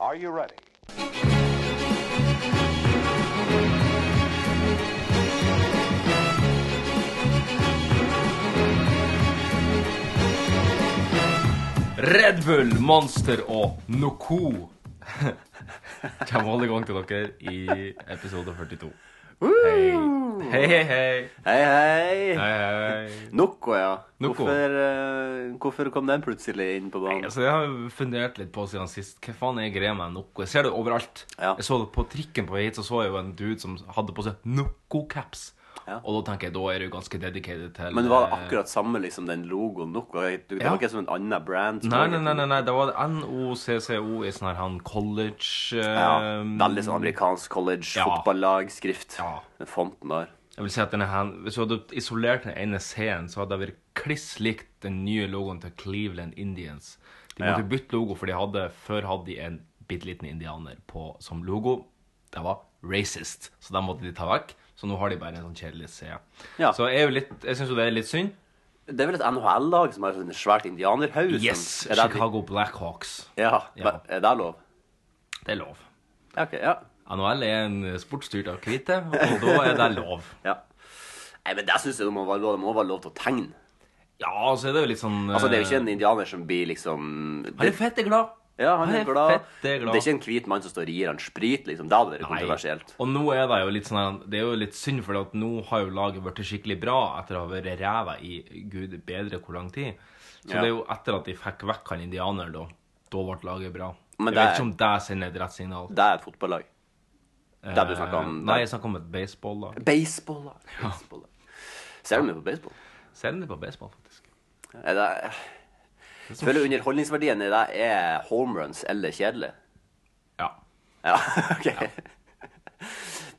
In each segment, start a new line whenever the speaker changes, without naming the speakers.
Are you ready?
Red Bull, Monster og Noko kommer alle i gang til dere i episode 42. Hei, hei, hei. Hei,
Hei, hei.
hei. hei.
Noe, ja.
Noe.
Hvorfor, eh, hvorfor kom den plutselig inn på banen?
Altså, jeg har fundert litt på siden sist. Hva faen er greia med Noko? Jeg ser det overalt.
Ja.
Jeg så det på trikken på vei hit, så så jeg jo en dude som hadde på seg Noko-caps.
Ja.
Og da tenker jeg, da er du ganske dedicated til
Men det var
eh,
akkurat samme liksom den logoen Noco. Det var
Ja.
ikke som en annen brand. som
Nei,
laget
nei, nei,
den.
nei, nei, det var NOCCO i sånn her han college eh,
Ja, Veldig sånn amerikansk college,
Ja.
fotballag-skrift.
Ja.
Den fonten der.
Jeg vil si at denne her, Hvis du hadde isolert den ene C-en, så hadde det vært kliss likt den nye logoen til Cleveland Indians. De måtte
Ja.
bytte logo, for de hadde, før hadde de en bitte liten indianer på, som logo. Det var racist, så den måtte de ta vekk. Så nå har de bare en sånn kjedelig C.
Ja.
Så jeg, er jo litt- jeg syns jo det er litt synd.
Det er vel et NHL-lag som har et svært indianerhaus? som-
Yes,
Er det,
Chicago Blackhawks.
Ja,
Ja.
men Er det lov?
Det er lov.
Ja, ok, ja.
NHL er en sport styrt av hvite, og da er det lov.
ja. Nei, men det syns jeg det må være lov. Det må være lov til å tegne.
Ja, så er det jo litt sånn eh,
Altså, Det er jo ikke en indianer som blir liksom
Han er fette glad.
Ja, han er glad.
fette glad.
Det er ikke en hvit mann som står og gir han sprit, liksom. Da hadde det vært
Nei.
kontroversielt.
Og nå er det jo litt sånn her- Det er jo litt synd, for at nå har jo laget blitt skikkelig bra etter å ha vært ræva i gud bedre hvor lang tid. Så
Ja.
det er jo etter at de fikk vekk han indianeren, da. Da ble laget bra.
Men
jeg vet
det er-
ikke om det sender et rett signal.
Det er et fotballag. der du
Eh,
snakker om-
Nei, jeg snakker om et baseball. da
Baseball, da. Baseball, da. Ser du mye på baseball?
Ser den litt på baseball, faktisk. sånn-
Er det... Jeg føler underholdningsverdien i det er homeruns eller kjedelig.
Ja.
Ja, ok.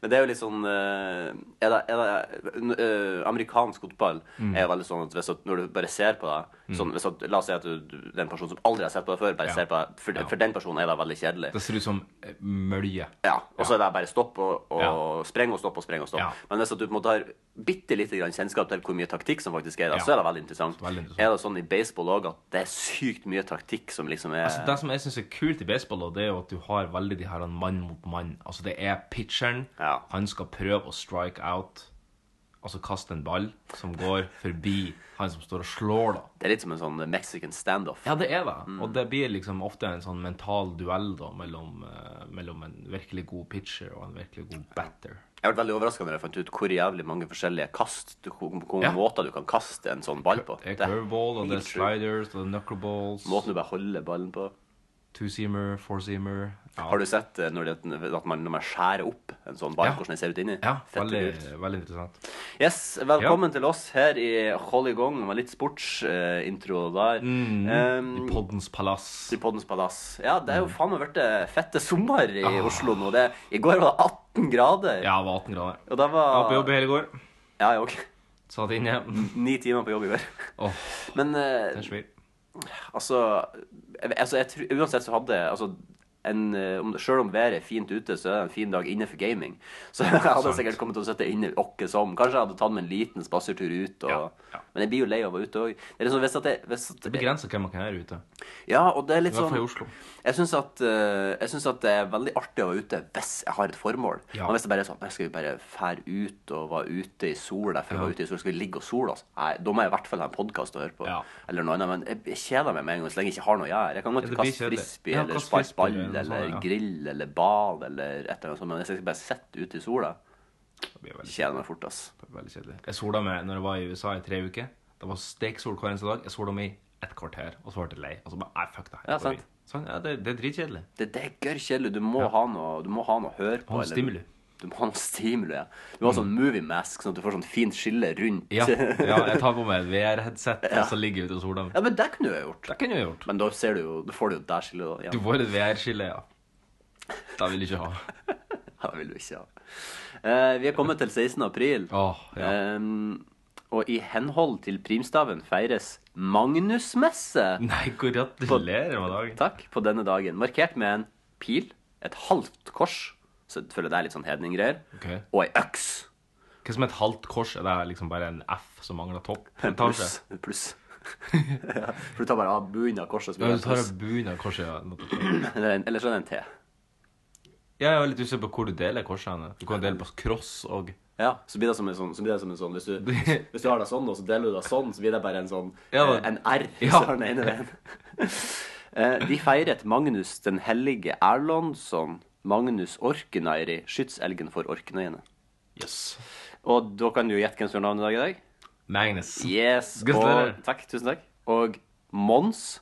Men det er jo litt sånn eh, er det, er det, eh, Amerikansk fotball
Mm.
er jo veldig sånn at hvis at når du bare ser på det sånn, hvis at, La oss si at du, du, det er en person som aldri har sett på det før, bare
Ja.
ser på det. For,
Ja.
for den personen er det veldig kjedelig.
Det ser ut som eh, mølje.
Ja, og så er det bare stopp og, og
Ja.
spreng og stopp og spreng og stopp.
Ja.
Men hvis at du på en måte har bitte lite grann kjennskap til hvor mye taktikk som faktisk er der,
Ja.
så er det veldig interessant.
Veldig interessant.
Er det sånn i baseball òg at det er sykt mye taktikk som liksom er
Altså, det som jeg syns er kult i baseball, da, det er jo at du har veldig de her mann mot mann. Altså, det er pitcheren.
Ja.
Han skal prøve å strike out. Altså kaste en ball som går forbi han som står og slår, da.
Det er litt som en sånn mexican standoff.
Ja, det er det. Og det blir liksom ofte en sånn mental duell da, mellom, eh, mellom en virkelig god pitcher og en virkelig god batter.
Jeg ble veldig overraska når jeg fant ut hvor jævlig mange forskjellige kast du, hvor, hvor
Ja.
måter du kan kaste en sånn ball på.
Det er
Det er
curveball, og det er
helt sjukt.
sliders, og det er knuckleballs,
Måten du bare holder ballen på.
two-seamer, four-seamer ja.
Har du sett eh, når det, at man, når man skjærer opp en sånn ball,
Ja.
hvordan den ser ut inni?
Ja,
Fett
veldig,
kult.
veldig interessant.
Yes, velkommen til oss her i Hollygong med litt sportsintro der.
Mhm. I
Um,
poddens palass.
I Poddens palass. Ja, det
Mhm.
er jo faen meg blitt eh, fette sommer i Oslo nå. Det, I går var det 18 grader.
Ah. Ja, det var 18 grader.
Og det
Jeg var
var
på jobb i hele går.
Ja, ja, ok.
Satt inne.
Ni timer på jobb i går.
Åh,
Men eh,
det er svir.
altså, jeg- altså jeg tror, Uansett så hadde altså, en, eh, om, Selv om været er fint ute, så er det en fin dag inne for gaming. Så jeg hadde
Sant.
sikkert kommet til å sitte inne åkke som. Kanskje jeg hadde tatt meg en liten spasertur ut. Og,
Ja, ja.
Men jeg blir jo lei av å være ute òg. Det er liksom, hvis at jeg, hvis at,
Det begrenser hvem man kan være ute.
Ja, og det er litt
I hvert
sånn
fall i Oslo.
Jeg syns at, eh, jeg synes at det er veldig artig å være ute hvis jeg har et formål.
Ja.
Men hvis det bare er sånn jeg skal vi bare fære ut og være ute i sola for å være ute i sola, skal vi ligge og sola oss? Nei, da må jeg i hvert fall ha en podkast å høre på.
Ja.
Eller noe annet. Men jeg, jeg kjeder meg med en gang så lenge jeg ikke har noe jeg gjør. Jeg kan
Ja,
godt
det blir
kaste
kjedelig.
frisbee
Ja,
eller
kaste
sparke
frisbee
ball
eller noe
eller,
sånt, ja.
grill eller bad eller et eller annet sånt. Men hvis jeg skal bare sitte ute i sola,
Det blir veldig,
kjeder jeg meg fort, ass.
veldig kjedelig. Jeg sola meg når jeg var i USA i tre uker. Det var steksol hver eneste dag. Jeg sola meg i et kvarter, og så ble jeg lei. Og så bare, nei, fuck det her.
Ja,
jeg går
sant.
inn. Sånn, ja, det, det er dritkjedelig.
Det, det er gørr kjedelig. Du, må ha noe- du må ha noe å høre på.
ha
eller-
stimuli. Mm.
Du må ha noe stimuli, ja. Du må ha sånn movie mask, sånn at du får sånn fint skille rundt.
Ja, ja jeg tar på meg et VR-headset, og så ligger jeg ute og sola meg.
Ja, men det kunne du ha gjort.
Det kunne jeg gjort.
Men da ser du jo, da får du jo det skillet da.
Du
igjen.
får et VR-skille, ja. Det vil jeg ikke ha.
Ja, det vil du ikke ha. Eh, vi er kommet til 16. april.
Åh, ja.
Ehm, og i henhold til primstaven feires Magnusmesse.
Nei, gratulerer med dagen.
Takk på denne dagen. Markert med en pil, et halvt kors, så jeg føler det er litt sånn hedninggreier,
Ok.
og ei øks.
Hva som er et halvt kors? Er det liksom bare en F som mangler topp?
En pluss. En pluss. ja, for du tar bare av bunnen av korset. så
Ja,
blir det
du
en
tar
pluss.
av bunnen av korset. Ja.
Eller en- eller så er det en T.
Jeg er litt usikker på hvor du deler korsene. Du kan dele på cross og
Ja, så blir det som en sånn, så blir det som en sånn hvis, du,
Det-
hvis du har det sånn, og så deler du det sånn, så blir det bare en sånn
Ja.
eh, En R.
Ja.
Så har den ene veien. Eh, De feiret Magnus den hellige Erlandsson, Magnus Orkeneiri, skytselgen for orknøyene.
Yes.
Og da kan du jo gjette hvem som har navn i dag i dag.
Magnus.
Yes, og
Gratulerer.
takk, tusen takk. Og Mons.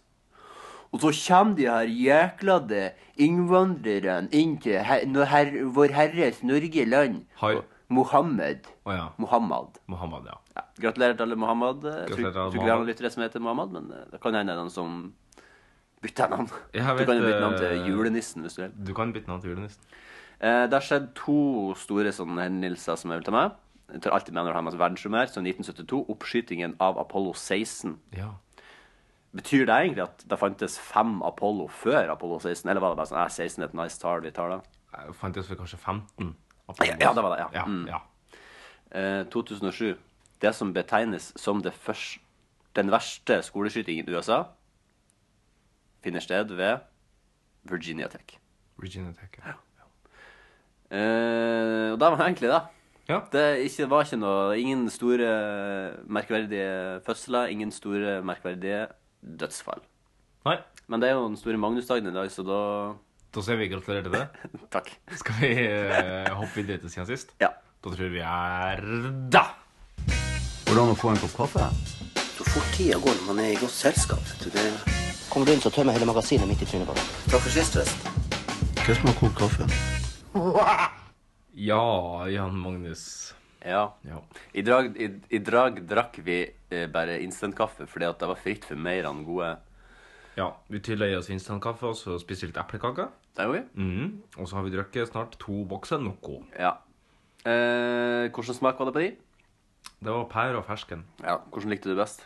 Og så kommer de her jæklade innvandrerne inn til her, når her, Vår Herres Norge land.
Har-
Og Mohammed.
Å ja.
Mohammed.
Mohammed, ja.
Ja. Gratulerer til alle Mohammed. Eh, Jeg tror
Gratulerer til
tror
alle
ikke det er noen lyttere som heter Mohammed, men eh, det kan hende det er noen som bytter navn.
Jeg har
du kan jo
vet,
bytte navn
eh,
til julenissen hvis du vil.
Du kan bytte navn til julenissen.
Eh, det har skjedd to store sånne hendelser som jeg vil ta med. Jeg tar alltid med når jeg har med verdensrommet her. Så 1972, oppskytingen av Apollo 16.
Ja.
Betyr det egentlig at det fantes fem Apollo før Apollo 16? Eller var det bare sånn «Eh, 16 er et nice tall, vi tar det?
Jeg fant oss for kanskje 15.
Ja, ja, det var det, ja.
ja,
Mm.
ja.
Eh, 2007. Det som betegnes som det først, den verste skoleskytingen i USA, finner sted ved Virginia Tech.
Regina Tech. Ja.
Eh, og det var egentlig det.
Ja.
Det er ikke, var ikke noe Ingen store merkverdige fødsler, ingen store merkverdige dødsfall.
Nei,
Men det er jo den store Magnusdagen i dag, så da
da sier vi gratulerer til det.
Takk.
Skal vi eh, hoppe videre til siden sist?
Ja.
Da tror jeg vi er da!
Hvordan å få en kopp kaffe?
Så fort tida går når man er i godt selskap. vet du, det...
Kommer du inn, så tømmer jeg hele magasinet mitt i trynet på deg.
Takk for sist, forresten.
Hva som har kokt kaffe?
Ja, Jan Magnus.
ja.
Ja.
I dag, i, i dag drakk vi eh, bare instantkaffe fordi at det var fritt for mer enn gode
ja. Vi tillegger oss instantkaffe og så spiser litt eplekake.
Det gjorde vi.
Mm.
Mhm. Og så har vi drukket snart to bokser Noco.
Ja. Eh, hvordan smak var det på de?
Det var pære og fersken.
Ja, hvordan likte du best?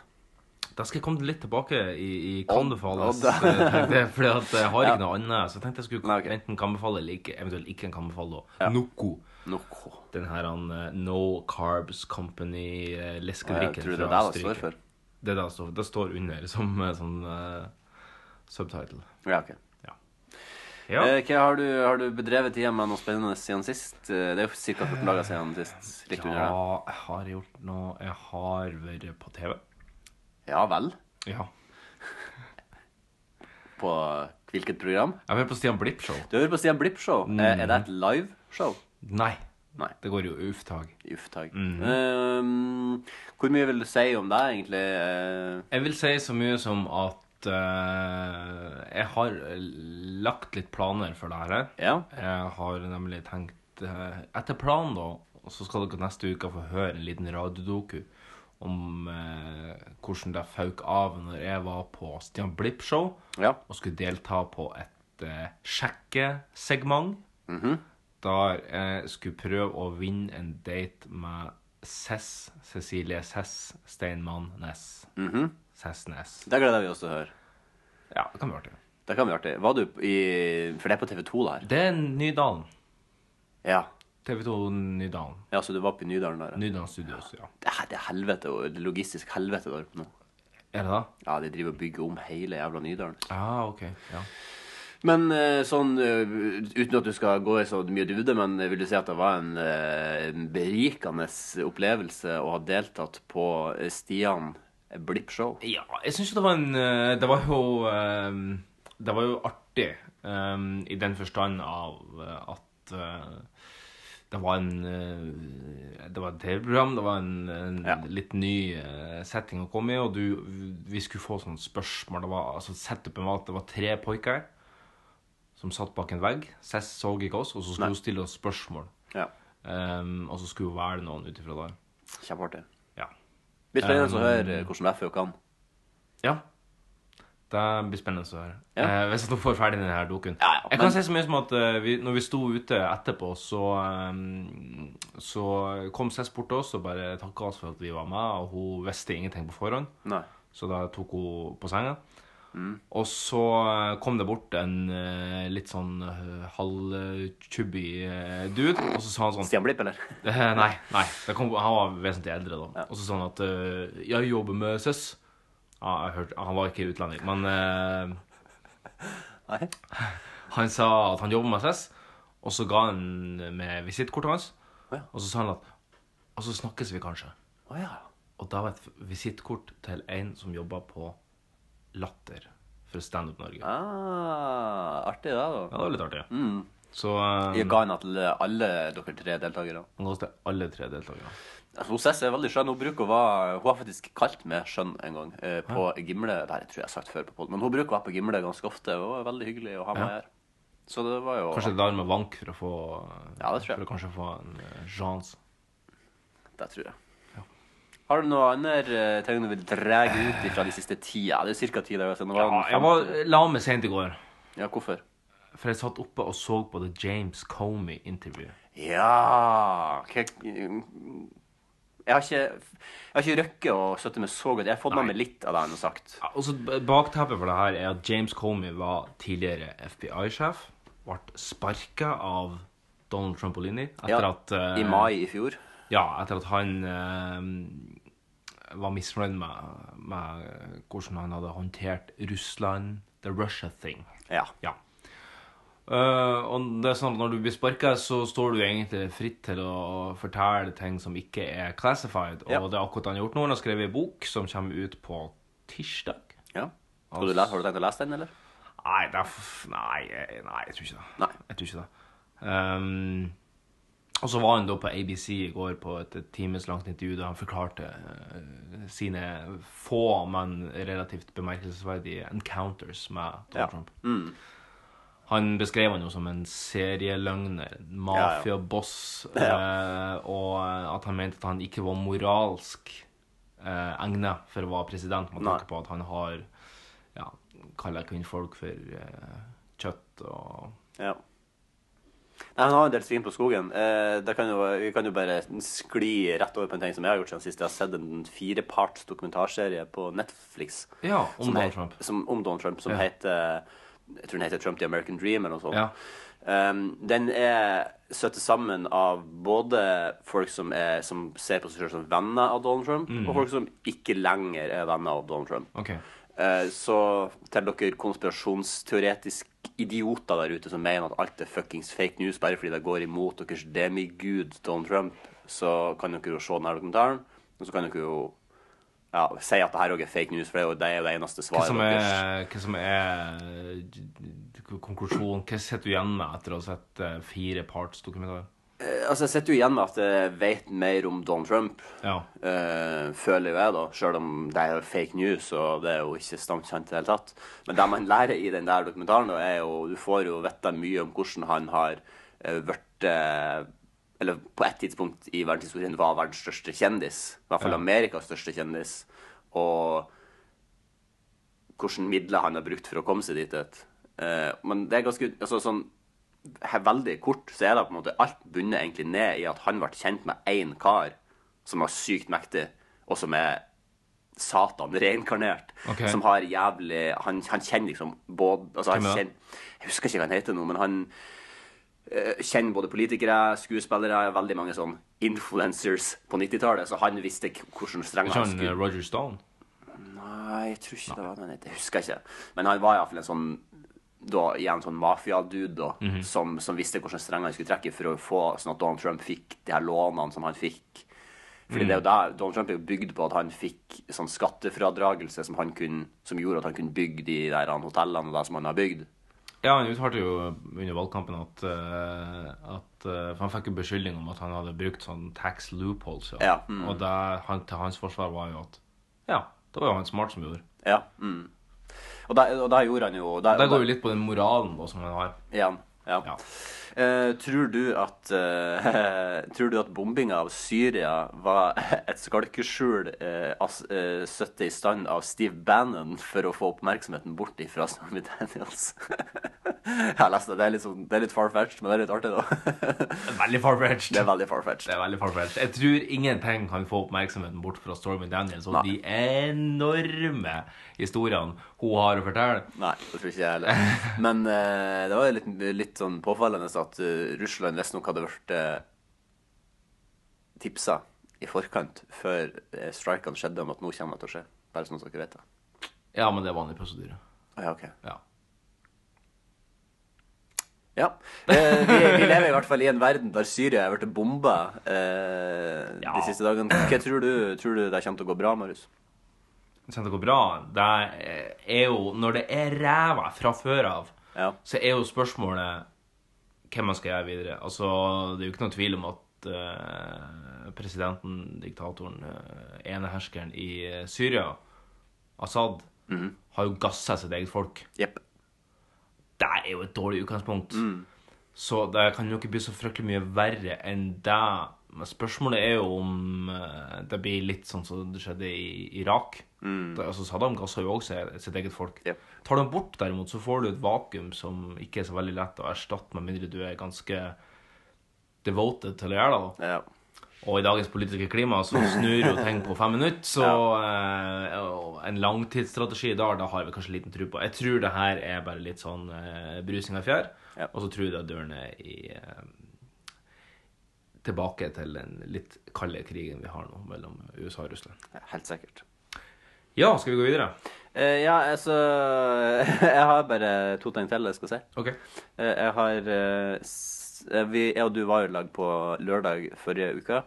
Da skal jeg komme litt tilbake i, i kan befales.
Å, da.
eh, tenkte jeg, Fordi at jeg har
Ja.
ikke noe annet. Så jeg tenkte jeg skulle
Nei, ok.
enten kan befale eller ikke, eventuelt ikke kan befale. da. Noco.
Noco.
Den her han, eh, No Carbs Company eh,
Jeg
leskedrikken
tror det er
fra
det det står
Østerrike.
for.
Det er det det står for. Det står under som eh, sånn eh, subtitle.
Ja, ok.
Ja.
Eh, hva har du, har du bedrevet tida med noe spennende siden sist? Eh, Det er jo ca. 14 dager siden sist. Litt
ja,
under det.
jeg har gjort noe Jeg har vært på TV.
Ja vel?
Ja.
På hvilket program?
Jeg har vært på Stian Blipp-show.
Du hører på Stian Blipp-show.
Mm.
Eh, Er det et liveshow?
Nei.
Nei.
Det går jo uftag.
Uff, takk.
Mm.
Eh, hvor mye vil du si om det, egentlig? Eh,
Jeg vil si så mye som at eh, jeg har lagt litt planer for det her.
Ja.
Jeg har nemlig tenkt eh, Etter planen, da, så skal dere neste uke få høre en liten radiodoku om eh, hvordan det føk av når jeg var på Stian Blipp-show
Ja.
og skulle delta på et eh, sjekkesegment. Mhm. Der jeg skulle prøve å vinne en date med Cess Cecilie Cess Steinmann Næss. Cess Næss.
Det gleder vi oss til å høre.
Ja, det kan bli artig.
Det kan bli artig. Var du i For det er på TV2, det her.
Det er Nydalen.
Ja.
TV2 Nydalen.
ja, så du var oppe i Nydalen der? ja.
Nydalen Studios, ja.
Det er, det er helvete, og det er logistisk helvete der oppe nå.
Er det det?
Ja, de driver og bygger om hele jævla Nydalen.
Ah, ok. Ja.
Men eh, sånn eh, uten at du skal gå i så mye dybde, men vil du si at det var en, eh, en berikende opplevelse å ha deltatt på eh, Stian Blipp-show?
Ja, jeg syns jo det var en eh, Det var jo eh, Det var jo artig eh, i den forstand av eh, at eh, det var en eh, Det var et TV-program, det var en, en
Ja.
litt ny eh, setting å komme i, og du Vi skulle få sånne spørsmål. Det var, altså Setupen var at det var tre pojker som satt bak en vegg. Cess så ikke oss, og så skulle hun stille oss spørsmål.
Ja.
Eh, og så skulle hun velge noen ut ifra det.
Kjempeartig.
Ja.
Blir spennende å høre hvordan det føk an.
Ja. Det blir spennende å høre.
Ja.
Eh, hvis du får ferdig denne her dokuen.
Ja, ja,
jeg kan
men-
si så mye som at eh, vi, når vi sto ute etterpå, så, eh, så kom Cess bort til oss og bare takka oss for at vi var med, og hun visste ingenting på forhånd.
Nei.
Så da tok hun på senga.
Mm.
Og så eh, kom det bort en eh, litt sånn eh, halvchubby eh, dude, og så sa han sånn
Stian Blipp, eller?
Eh, nei, nei. Det kom, han var vesentlig eldre da. Og så sa han at eh, 'jeg jobber med søss'. Ja, jeg hørte, han var ikke utlending, men eh,
Nei.
han sa at han jobber med søss. Og så ga han med visittkortet hans,
Ja.
og så sa han at Og så snakkes vi kanskje.
Å ja.
Og da var et visittkort til en som jobba på Latter for Standup Norge. Ja,
Ah, artig, det, da. Mm.
det var litt artig. Så eh,
Jeg ga den til alle dere tre deltakere.
han ga oss til alle tre deltakerne.
Altså, Hun Sess er veldig skjønn. Hun bruker å være Hun har faktisk kalt meg skjønn en gang eh, på Gimle. Det her tror jeg jeg har sagt før på podden, men hun bruker å være på Gimle ganske ofte. Og er veldig hyggelig å ha med
Ja.
her. Så det var jo
Kanskje det der med vank for å få
Ja, det tror jeg.
For å kanskje få en eh, sjanse.
Det tror jeg. Har du noe annet eh, ting du vil dra ut ifra de siste ti? Ja, det er ca. ti dager siden. det var den
Ja, jeg var,
femte.
la meg sent i går.
ja, hvorfor?
For jeg satt oppe og så på The James Comey-intervju.
Ja hva- Jeg har ikke, jeg har ikke røkket å støtte meg så godt. Jeg har fått med meg litt av det han har sagt.
Ja, også b- Bakteppet for det her er at James Comey var tidligere FBI-sjef. Ble sparka av Donald Trumpolini etter
Ja,
at eh,
I mai i fjor.
Ja, etter at han eh, var misfornøyd med, med hvordan han hadde håndtert Russland, the Russia thing.
Ja.
Ja. Eh, og det er sånn at når du blir sparka, så står du egentlig fritt til å fortelle ting som ikke er classified. Og
Ja.
det er akkurat han har gjort nå. Han har skrevet en bok som kommer ut på tirsdag.
ja. Skal du lese, har du tenkt å lese den, eller?
Nei, det er f nei, jeg- nei, jeg tror ikke det.
Nei.
Jeg tror ikke det. Ehm, og så var han da på ABC i går på et et times langt intervju der han forklarte eh, sine få, men relativt bemerkelsesverdige encounters med Donald
Ja.
Trump. Han beskrev han jo som en serieløgner, en mafiaboss, eh, og at han mente at han ikke var moralsk eh, egnet for å være president, med
Nei.
tanke på at han har ja, kaller kvinnfolk for eh, kjøtt og
Ja. Nei, han har en del svin på skogen. Eh, det kan jo, vi kan jo bare skli rett over på en ting som jeg har gjort siden sist. Jeg har sett en fireparts dokumentarserie på Netflix
Ja, om
som
Donald
he-
Trump.
Som, om Donald Trump, som
Ja.
heter Jeg tror den heter Trump the American Dream, eller noe sånt.
Ja.
Um, den er satt sammen av både folk som, er, som ser på seg selv som venner av Donald Trump,
Mm.
og folk som ikke lenger er venner av Donald Trump.
OK.
Eh, Så til dere konspirasjonsteoretisk idioter der ute som mener at alt er fuckings fake news bare fordi det går imot deres demigud Donald Trump, så kan dere jo se denne dokumentaren. Og så kan dere jo ja, si at det her òg er fake news, for det er jo det, er jo det eneste
Hva
svaret
som
deres.
er, hva som er eh, konklusjonen? Hva sitter du igjen med etter å ha sett eh, fire parts dokumentar?
Eh, Altså, jeg sitter jo igjen med at jeg vet mer om Donald Trump,
Ja.
eh, føler jo jeg, da. Selv om det er jo fake news, og det er jo ikke stamt kjent i det hele tatt. Men det man lærer i den der dokumentaren, da, er jo Du får jo vite mye om hvordan han har eh, vært eh, Eller på et tidspunkt i verdenshistorien var verdens største kjendis. I hvert fall
Ja.
Amerikas største kjendis. Og hvilke midler han har brukt for å komme seg dit. ut. Eh, men det er ganske altså, sånn, he- Veldig kort så er det på en måte alt bundet egentlig ned i at han ble kjent med én kar som er sykt mektig, og som er Satan reinkarnert.
Ok.
Som har jævlig Han, han kjenner liksom både altså, han
Hvem er det?
kjenner, Jeg husker ikke hva han heter nå, men han eh, kjenner både politikere, skuespillere, veldig mange sånn influencers på 90-tallet, så han visste k- hvordan strenger
Ikke
han
han eh,
skulle
Roger Stone?
Nei, jeg tror ikke det var den heter. Jeg husker ikke. Men han var iallfall en sånn da, igjen sånn mafiadude da, som, som visste hvordan strenger han skulle trekke for å få sånn at Donald Trump fikk de her lånene som han fikk. Fordi det er jo der, Donald Trump er jo bygd på at han fikk sånn skattefradragelse som, han kunne, som gjorde at han kunne bygge de der han hotellene og det som han har bygd.
Ja, han uttalte jo under valgkampen at, eh, at eh, For han fikk jo beskyldning om at han hadde brukt sånn tax loopholes. Ja.
Ja, mm.
Og det han, til hans forsvar var jo at Ja, det var jo han smart som gjorde.
Ja. Mm. Og da og da gjorde han jo da-
Det går jo litt på den moralen da, som han har.
Igjen. Ja.
Ja.
Eh, tror, du at, eh, tror du at bombinga av Syria var et skalkeskjul eh, as, eh, satt i stand av Steve Bannon for å få oppmerksomheten bort ifra Stormy Daniels? Jeg har lest det. Det er litt, sånn, det er litt far-fetched, men det er litt artig, da.
Veldig far-fetched.
det er veldig far-fetched.
Det er veldig farfetched. Jeg tror ingenting kan få oppmerksomheten bort fra Stormy Daniels og
Nei.
de enorme historiene hun har å fortelle.
Nei, det tror ikke jeg heller. Men eh, det var litt, litt sånn påfallende at eh, Russland visstnok hadde vært eh, tipsa i forkant før eh, strikene skjedde om at nå kommer det til å skje. Bare sånn at dere vet det.
Ja, men det er vanlig prosedyre.
Ah, ja, ok.
Ja.
Ja. Eh, vi, vi lever i hvert fall i en verden der Syria er blitt bomba eh,
Ja.
de siste dagene. Hva tror du, tror du det kommer til å gå bra, Marius?
Hvis det går bra, det er jo Når det er ræva fra før av,
Ja.
så er jo spørsmålet hvem man skal gjøre videre. Altså, det er jo ikke noen tvil om at eh, presidenten, diktatoren, eh, eneherskeren i eh, Syria, Assad, har jo gassa sitt eget folk.
Jepp.
det er jo et dårlig utgangspunkt. Så det kan jo ikke bli så fryktelig mye verre enn det. Men spørsmålet er jo om eh, det blir litt sånn som det skjedde i Irak. Da, altså Saddam gasset jo også sitt eget folk.
Yep.
Tar du bort derimot, så får du et vakuum som ikke er så veldig lett å erstatte, med mindre du er ganske devoted til å gjøre det. da.
Ja.
Og i dagens politiske klima så snur jo ting på fem minutter, så eh, og en langtidsstrategi da, da har vi kanskje liten tro på. Jeg tror det her er bare litt sånn eh, brusing av fjær,
Ja.
og så tror jeg at døren er i, eh, tilbake til den litt kalde krigen vi har nå mellom USA og Russland.
Helt sikkert.
Ja, skal vi gå videre?
Eh, ja, altså Jeg har bare to ting til jeg skal si.
Ok.
Eh, Jeg har eh, s- eh, vi, Jeg og du var jo i lag på lørdag forrige uke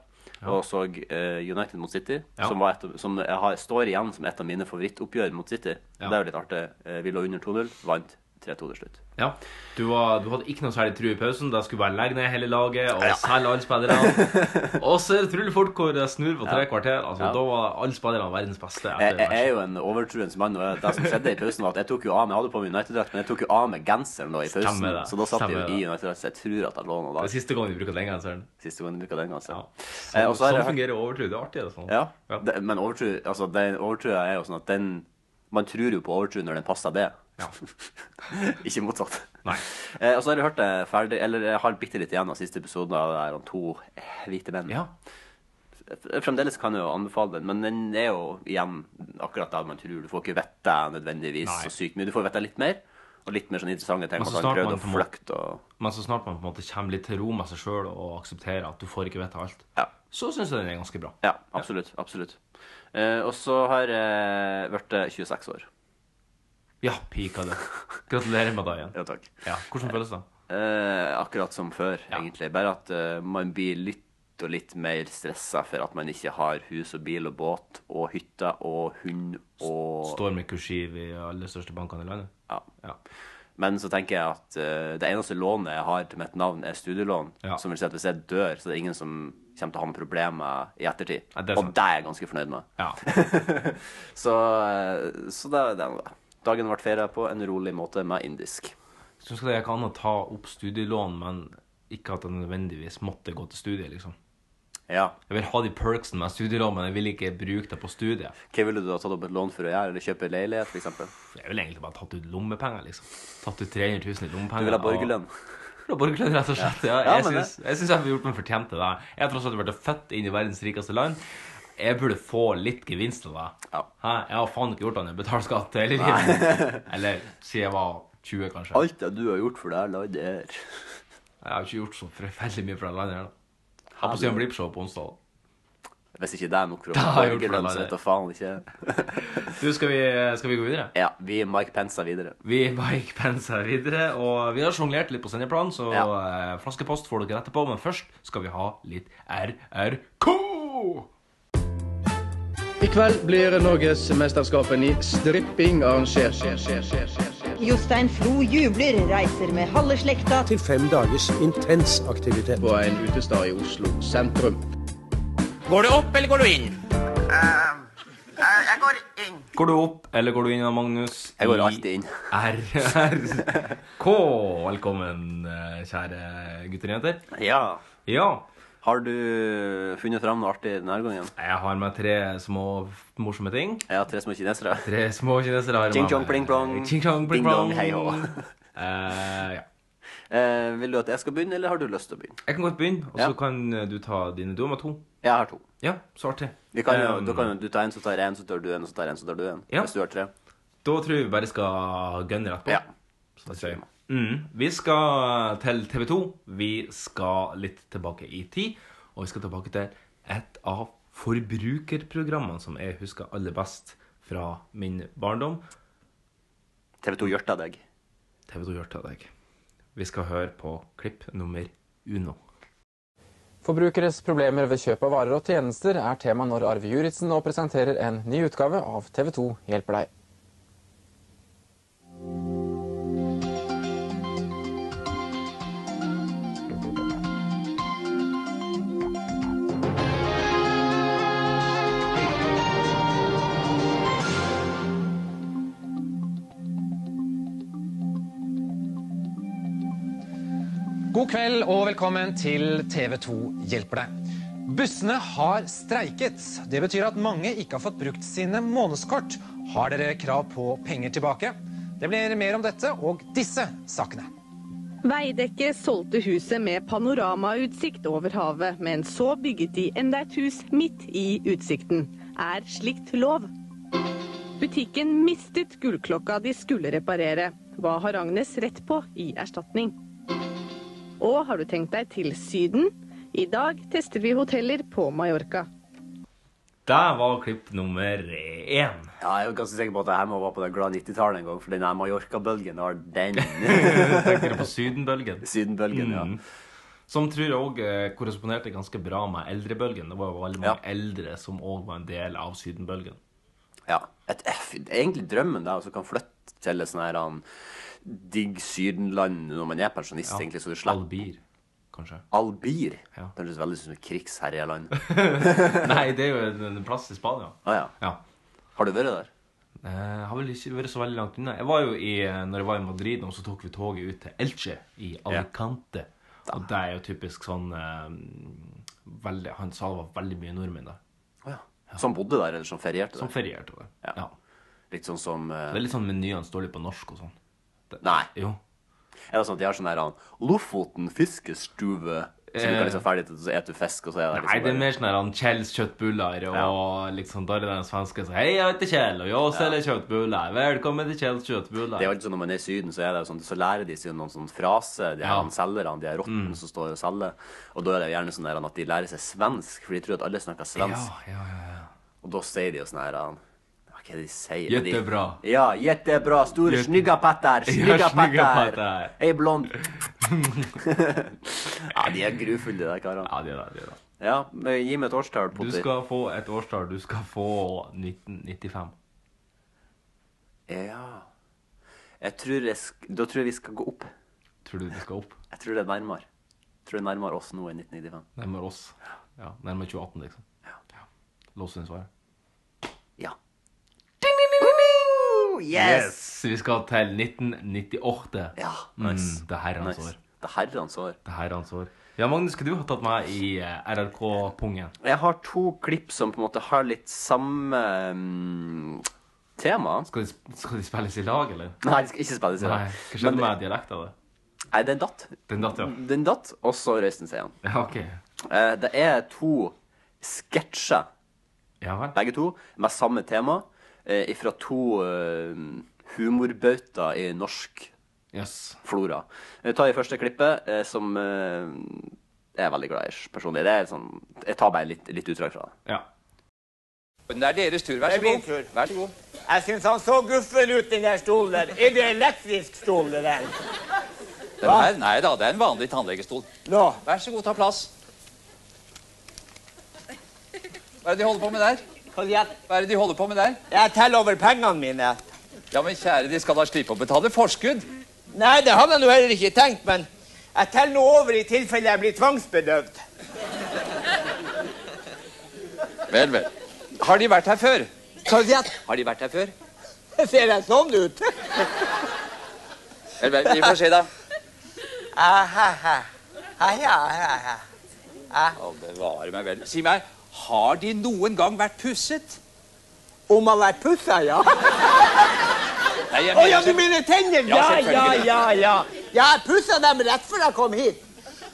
og så eh, United mot City,
Ja.
som, var et, av- som jeg har, står igjen som et av mine favorittoppgjør mot City.
Ja.
Det er jo litt artig. Eh, Vi lå under 2-0, vant 3-2 til slutt.
Ja, du, var, du hadde ikke noe særlig tro i pausen. Da skulle bare legge ned hele laget og selge alle spillerne. Og så er det utrolig fort hvor det snur på tre kvarter. Altså,
Ja.
Da var alle spillerne verdens beste.
Jeg,
etter
jeg er jo en overtroens mann, og jeg- det som skjedde i pausen, var at jeg tok jo av meg Jeg hadde på meg United-drakt, men jeg tok jo av meg genseren da i pausen.
Stemmer det.
Så da satt jeg jo i
Stemmer det.
United-drakt, så jeg tror at jeg lå noe da.
Det er siste gang vi bruker den genseren.
Siste gang jeg bruker den, altså.
Ja.
Eh,
Sånn,
og så har jeg
sånn
hørt-
fungerer overtro. Det er artig. Det, er sånn.
Ja,
Ja.
Det, men overtro altså, den overtroa er jo sånn at den Man tror jo på overtro når den passer det.
Ja.
Ikke motsatt.
Nei.
Eh, og så har jeg hørt det ferdig Eller jeg har bitte litt igjen av siste episoden av det her om to eh, hvite menn.
ja.
F- Fremdeles kan jeg jo anbefale den, men den er jo igjen akkurat der man tror. Du får ikke vite nødvendigvis
Nei.
så sykt mye. Du får vite litt mer, og litt mer sånn interessante ting.
Men så
at han
snart
prøvde
man
å
på en måte-
flykte og
Men så snart man på en måte kommer litt til ro med seg sjøl og aksepterer at du får ikke vite alt,
Ja.
så syns jeg den er ganske bra.
Ja, absolutt. Absolutt. Eh, og så har eh, jeg blitt 26 år.
Ja, pika du. Gratulerer med dagen.
Ja, takk.
Ja. Hvordan føles det?
Eh, akkurat som før,
Ja.
egentlig. Bare at eh, man blir litt og litt mer stressa for at man ikke har hus og bil og båt og hytte og hund og
Står med kursiv i alle de største bankene i landet?
ja.
Ja.
Men så tenker jeg at eh, det eneste lånet jeg har til mitt navn, er studielån.
Ja.
Som vil si at hvis jeg dør, så er det ingen som kommer til å ha noe problem med i ettertid.
Nei, det er
og
sant.
det er jeg ganske fornøyd med.
ja.
Så, eh, så det er det. er det. Dagen ble feira på en rolig måte med indisk.
Så skal det gikk an å ta opp studielån, men ikke at det nødvendigvis måtte gå til studiet, liksom.
Ja.
Jeg vil ha de perksene med studielån, men jeg vil ikke bruke det på studiet.
Hva ville du ha tatt opp et lån for å gjøre? Eller kjøpe leilighet, f.eks.?
Jeg ville egentlig bare tatt ut lommepenger, liksom. Tatt ut 300 000 i lommepenger.
Du vil ha
og-
borgerlønn?
Fra Borgerlund, rett og slett. Ja,
Ja,
jeg,
men det-
syns, jeg syns jeg har gjort meg fortjent til det. Jeg har tross alt vært født inn i verdens rikeste land. Jeg burde få litt gevinst av det.
Ja.
Hæ? Jeg har faen ikke gjort annet enn å betale skatt hele livet. Eller siden jeg var 20, kanskje.
Alt det du har gjort for det her landet her
Jeg har ikke gjort så forferdelig mye for det landet her, da. Jeg har på Stian Blipp-show på onsdag.
Hvis ikke det er nok for å
Det har jeg gjort for det
borgerlønn, så
landet.
vet jeg faen ikke.
Du, skal vi, skal vi gå videre?
Ja, vi er Mike Pensa videre.
Vi Mike Pence her videre, og vi har sjonglert litt på sendeplan, så eh, flaskepost får dere etterpå, men først skal vi ha litt RRK!
I kveld blir Norgesmesterskapen i stripping arrangert.
Jostein Flo jubler, reiser med halve slekta
til fem dagers intens aktivitet.
På en utestad i Oslo sentrum.
Går du opp, eller går du inn, Magnus?
Jeg går
i-
alltid inn.
RRK. Velkommen, eh, kjære gutter og jenter.
Ja.
Ja,
Har du eh, funnet fram noe artig denne gangen?
jeg har med tre små f- morsomme ting.
Jeg har tre små kinesere.
Tre små kinesere har jeg
Ching
med
chong,
meg.
pling plong.
Ching chong,
Ding
pling plong.
dong, hei hå.
Eh, ja.
Eh, vil du at jeg skal begynne, eller har du lyst til å begynne?
Jeg kan godt begynne, og
Ja.
så kan eh, du ta dine. Du har med to.
Jeg har to.
Ja, så artig.
Vi kan jo,
Eh,
da kan jo du ta en, så tar jeg en, så tar du en, så tar jeg en, så tar du en.
Ja.
Hvis du har tre.
Da tror jeg vi bare skal gønne rett på.
Ja.
Så det sier jeg. Mm. Vi skal til TV 2. Vi skal litt tilbake i tid. Og vi skal tilbake til et av forbrukerprogrammene som jeg husker aller best fra min barndom.
TV 2 Hjørta deg.
TV 2 Hjørta deg. Vi skal høre på klipp nummer uno.
Forbrukeres problemer ved kjøp av varer og tjenester er tema når Arve Juritzen nå presenterer en ny utgave av TV 2 hjelper deg. God kveld og velkommen til TV 2 hjelper deg. Bussene har streiket. Det betyr at mange ikke har fått brukt sine månedskort. Har dere krav på penger tilbake? Det blir mer om dette og disse sakene.
Veidekke solgte huset med panoramautsikt over havet, men så bygget de enda et hus midt i utsikten. Er slikt lov? Butikken mistet gullklokka de skulle reparere. Hva har Agnes rett på i erstatning? Og har du tenkt deg til Syden? I dag tester vi hoteller på Mallorca.
Der var klipp nummer én.
Ja, jeg er jo ganske sikker på at det her må være på det glade 90-tallet en gang, for den her Mallorca-bølgen har den
Tenker på Sydenbølgen.
sydenbølgen, ja.
Som tror jeg òg korresponderte ganske bra med eldrebølgen. Det var jo veldig mange
Ja.
eldre som òg var en del av Sydenbølgen.
ja. Et, eh, fy, det er egentlig drømmen da, å kan flytte til et sånn her han, digg sydenland når man er pensjonist, egentlig, så du slipper
Albir, kanskje.
Albir.
Ja.
Det høres veldig ut som et krigsherjeland.
Nei, det er jo en, en plass i Spania.
Ah, ja.
Ja.
Har du vært der?
Eh, har vel ikke vært så veldig langt unna. Jeg var jo i, når jeg var i Madrid, nå, så tok vi toget ut til Elche i Alicante. Og det er jo typisk sånn eh, veldig, Han sa det var veldig mye nordmenn der.
Å ja. Som bodde der, eller som ferierte der?
Som ferierte der.
Ja.
Ja.
Litt sånn som eh,
Det er litt sånn menyene står litt på norsk og sånn. Det-
Nei.
Jo.
Er det sånn at de har sånn her han, Lofoten fiskestue? Så du
Eh.
kan liksom ferdig til, så spiser du fisk, og så er det liksom
Nei, det er
bare-
mer sånn her han Kjells kjøttbuller og liksom da er det den svenske som Hei, jeg heter Kjell, og jeg selger kjøttbuller. Velkommen til Kjells kjøttbuller.
Det er jo alltid sånn Når man er i Syden, så, er det jo sånn, så lærer de seg noen sånn frase, de her
Ja.
han
Mm.
selgerne, de her rottene som står og selger. Og da er det jo gjerne sånn her at de lærer seg svensk, for de tror at alle snakker
ja,
svensk.
ja, ja, ja.
Og da sier de jo sånn her han, Hva er det de sier? Men
Jättebra.
De, ja, jettebra. Store
Jätte-
snyggapatter.
Ja,
Snyggapatter.
snyggapatter.
Hei, blond. ja, de er grufulle, de der karene.
Ja, det er det. det er det.
Ja, men gi meg et årstall,
Du
Potter.
skal få et årstall. Du skal få 1995.
Ja jeg tror jeg sk Da tror jeg vi skal gå opp.
Tror du det skal opp?
Jeg tror det er nærmere. Jeg tror det er nærmere oss nå enn 1995.
Nærmere oss. Ja, Nærmere 2018, liksom. Ja. Lås inn svaret.
Ja.
Vi skal til 1998.
Ja, nice.
Mm, det er herrens
nice.
år.
Det er herrens år.
Det er herrens år. Ja, Magnus, skulle du ha tatt meg i eh, RRK-pungen?
Jeg har to klipp som på en måte har litt samme mm, tema.
Skal, de sp- skal de spilles i lag, eller?
Nei, de skal ikke spilles i
Nei,
dag.
Hva skjedde med dialekten av det?
Nei, den datt.
Den datt, ja.
Den datt, og så røyste den seg igjen.
Ja, ok.
Eh, Det er to sketsjer,
Ja vel.
begge to, med samme tema, fra to eh, humorbauter i norsk
Jøss.
flora. Jeg tar i første klippet, eh, som eh, jeg er veldig glad i personlig. Det er sånn, jeg tar bare litt, litt utdrag fra det.
Ja.
Det er deres tur, vær så god. Vær så god.
Jeg syns han så guffen ut, den der stolen der. Er det elektrisk stol, det der?
Den her, nei da, det er en vanlig tannlegestol.
Nå.
Vær så god, ta plass. Hva er det de holder på med der?
Hva gjør-
Hva er det de holder på med der?
Jeg teller over pengene mine.
Ja, men kjære, de skal da slippe å betale forskudd.
Nei, det hadde jeg nå heller ikke tenkt, men jeg teller nå over i tilfelle jeg blir tvangsbedøvd.
Vel, vel. Har de vært her før?
Hva gjør-
Har de vært her før?
Ser jeg sånn ut?
Vel, vel, vi får se da.
Ah, Ahaha. Aja, aja, aja. Ah.
Å, bevare meg vel. Si meg, har de noen gang vært pusset?
Om jeg har vært pussa, ja? Å
Nei, jeg mener
ja, du
ikke-
mener tenner? Ja, ja, ja. ja. Ja, Jeg pussa dem rett før jeg kom hit.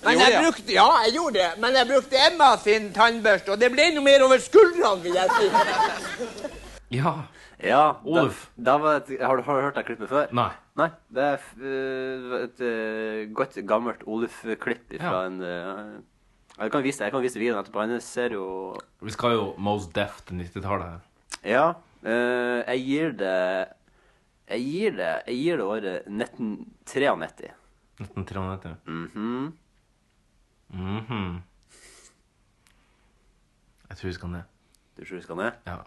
Men
Gjorde
jeg
det, ja.
brukte, ja, jeg gjorde det, men jeg brukte Emma sin tannbørste, og det ble noe mer over skuldrene, vil jeg si.
Ja.
Ja,
Oluf.
Da, da var et, har, du, har du hørt det klippet før?
Nei.
Nei, det er f- øh, et øh, godt, gammelt Oluf-klipp fra
Ja.
en øh, jeg kan vise det, jeg kan vise videoen etterpå. Han ser jo
Vi skal jo most deaf til 90-tallet her.
Ja, øh, jeg gir det Jeg gir det Jeg gir det året 1993.
1993.
Mhm.
Mhm. Jeg tror vi skal ned.
Du tror vi skal ned?
Ja.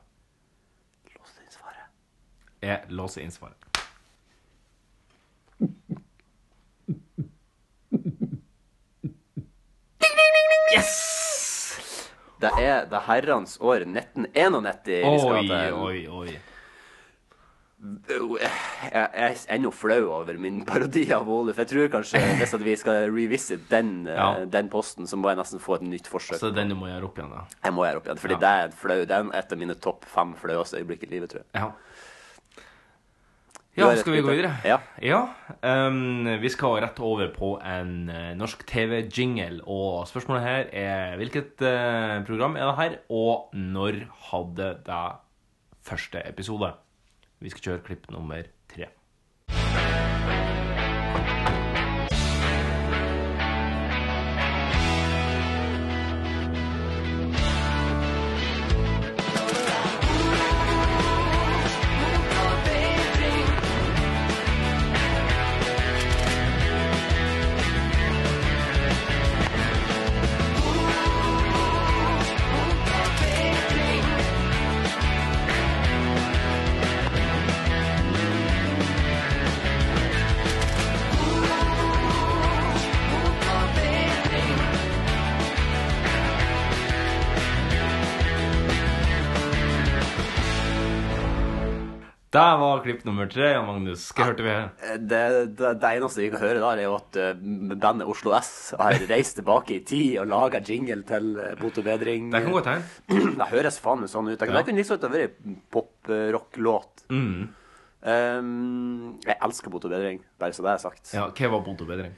Lås inn svaret.
Jeg låser inn svaret. Yes!
Det er det herrens år 1991 vi skal
Oi,
til.
oi, oi.
Jeg jeg er ennå flau over min parodi av Ole, for jeg tror kanskje hvis at vi skal revisit den, eh,
Ja.
den posten, så må jeg nesten få et nytt forsøk.
Så den du må gjøre opp igjen, da.
Jeg må gjøre opp igjen, fordi
Ja.
det er et flau, det er et av mine topp fem flaueste øyeblikk i livet, tror jeg.
Ja.
Du har
Ja,
et
skal vi gå
punkt,
videre?
Ja.
Ja. ehm, vi skal rett over på en eh, norsk TV-jingle, og spørsmålet her er hvilket eh, program er det her, og når hadde det første episode? Vi skal kjøre klipp nummer tre. Der var klipp nummer tre, Jan Magnus. Hva hørte vi?
Eh, Det, det, det eneste vi kan høre da, er jo at eh, bandet Oslo S har reist tilbake i tid og laga jingle til eh, Bot og bedring.
Det kan godt hende.
Det høres faen meg sånn ut. Det
Ja.
kunne like liksom godt ha vært en pop-rock-låt.
Mm.
Um, jeg elsker Bot og bedring, bare så det er sagt.
Ja, hva var Bot og bedring?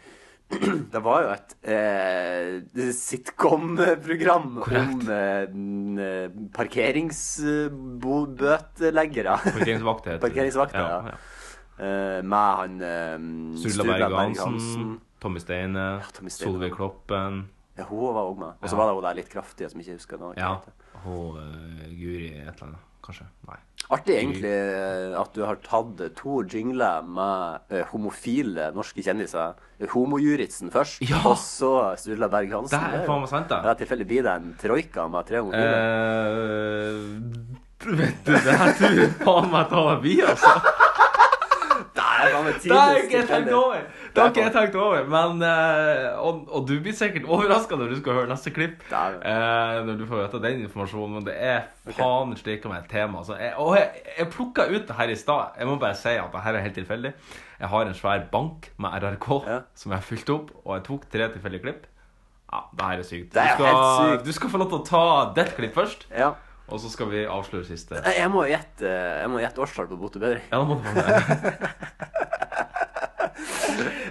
Det var jo et eh, sitcom-program om
Korrekt.
eh, n- eh, parkeringsbøteleggere.
Parkeringsvakt heter det.
Parkeringsvakter, ja.
ja.
Eh, med han eh,
Sturla Berge Hansen, Tommy Steine,
Tommy Steine.
Solveig Kloppen
Ja, hun var òg med. Og så
Ja.
var det hun der litt kraftige som ikke husker noe.
Ja. Og eh, Guri et eller annet, kanskje. Nei.
Artig egentlig eh, at du har tatt to jingler med eh, homofile norske kjendiser. Homojuritsen først,
Ja.
og så Sturla Berg Hansen.
Det er
jo-
faen meg sant, da.
Sånn Ja, tilfeldig blir det en troika med tre homofile.
Eh, vet du, det her tror jeg faen meg tar vi, altså.
det er faen meg
Det har
tidligst
ikke jeg tenkt
tilfeldig.
over. Det har ikke jeg tenkt over. Men, eh, og, og du blir sikkert overraska når du skal høre neste klipp.
Dæven.
eh, når du får vite den informasjonen. Men det er faen slik om et tema. Altså. Jeg, og jeg, jeg plukka ut det her i stad. Jeg må bare si at det her er helt tilfeldig. Jeg har en svær bank med RRK
Ja.
som jeg har fylt opp, og jeg tok tre tilfeldige klipp. Ja, det her er sykt.
Det er
du, skal,
helt sykt.
du skal få lov til å ta ditt klipp først.
Ja.
Og så skal vi avsløre siste.
Nei, Jeg må gjette eh, jeg må gjette årstall på Bot og bedring.
Ja, da må du ha det.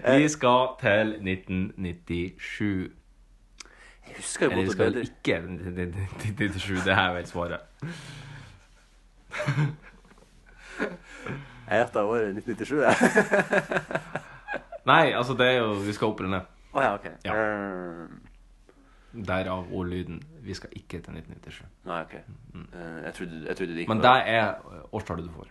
Vi skal til 1997.
Jeg husker jo
Eller
Bot
vi
og
skal
bedring.
ikke til 1997. Det her er vel svaret.
Jeg gjetta året 1997, jeg.
Nei, altså, det er jo Vi skal opp eller ned.
Å ja, OK.
Ja.
Mm.
Derav ordlyden. Vi skal ikke til 1997.
Nei, OK. Eh, Jeg trodde, jeg trodde det gikk
Mm. Men
bra.
det er årstallet du får.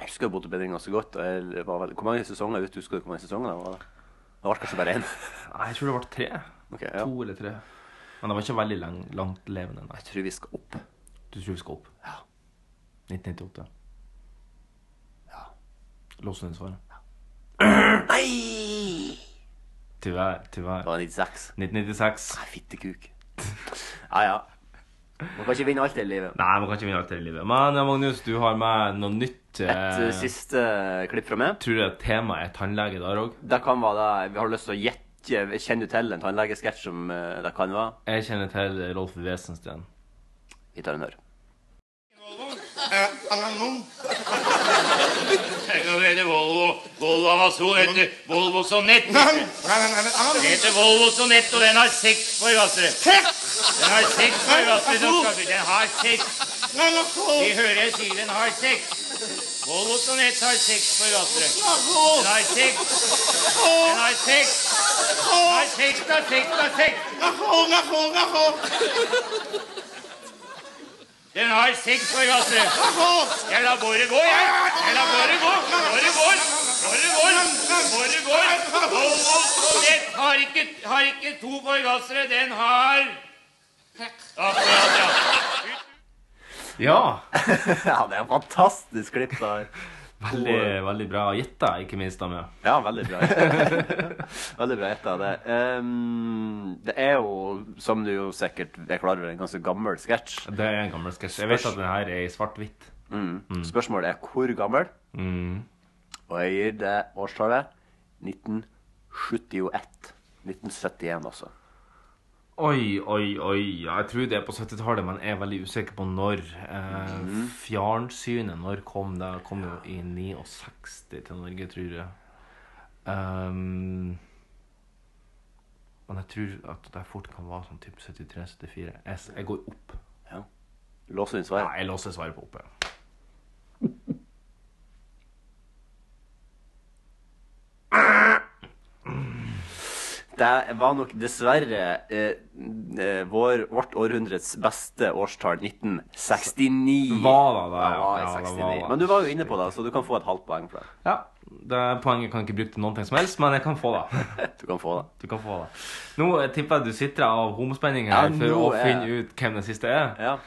Jeg husker jo Bot og bedring ganske godt. Og jeg var vel... Hvor mange sesonger vet du husker du hvor mange sesonger det var? da? Det var kanskje bare én.
Nei, jeg tror det ble tre.
Ok, ja.
To eller tre. Men det var ikke veldig lang, langtlevende. Nei.
Jeg tror vi skal opp.
Du tror vi skal opp? Ja. 1998. Ja. Låser du inn svaret? Ja.
Nei!
Tyvärr.
Det
tyvärr.
var 96.
1996.
Nei, Fittekuk. Ja, ja. Man kan ikke vinne alt i livet.
Nei, man kan ikke vinne alt her i livet. Men ja, Magnus, du har med noe nytt.
Et eh, siste klipp fra meg.
Tror jeg temaet er tannlege der òg.
Det kan være det. Har du lyst til å gjette? Kjenner du til en tannlegesketsj som eh, det kan være?
Jeg kjenner til Rolf Wesensten.
Vi tar en hør.
Jeg lar båret gå, jeg. Jeg lar båret gå. Båret går.
Borregaard! Borregaard! Volvo Sovjet har ikke, har ikke to forgassere, den har Akkurat, ja.
Ja.
ja, det er et fantastisk klipp der.
Veldig, veldig bra gjetta, ikke minst, Amia.
Ja, veldig bra. veldig bra gjetta. Det. Ehm, det er jo, som du jo sikkert er klar over, en ganske gammel sketsj.
Det er en gammel sketsj. Jeg vet at den her er i svart-hvitt.
Mm. Spørsmålet er hvor gammel,
Mm.
og jeg gir det årstallet 1971. 1971, altså.
Oi, oi, oi. Ja, Jeg tror det er på 70-tallet, men jeg er veldig usikker på når. Eh,
Mhm.
fjernsynet, når kom det? Det Kom jo i 69 til Norge, tror jeg. Ehm, men jeg tror at det fort kan være sånn type 73-74. Jeg, s- jeg går opp.
Ja. Låser inn svaret?
Ja, jeg låser svaret på oppe.
Det var nok dessverre eh, eh, vår, vårt århundrets beste årstall, 1969.
Var det det?
Ja, var
Ja, det
69.
var det.
Men du var jo inne på det, så du kan få et halvt poeng for det.
Ja, det Poenget kan jeg ikke bruke til noen ting som helst, men jeg kan få det.
Du kan få det.
Du kan få det. Nå eh, tipper jeg du sitter av homospenning
Ja,
her for å
nå er-
finne ut hvem den siste er.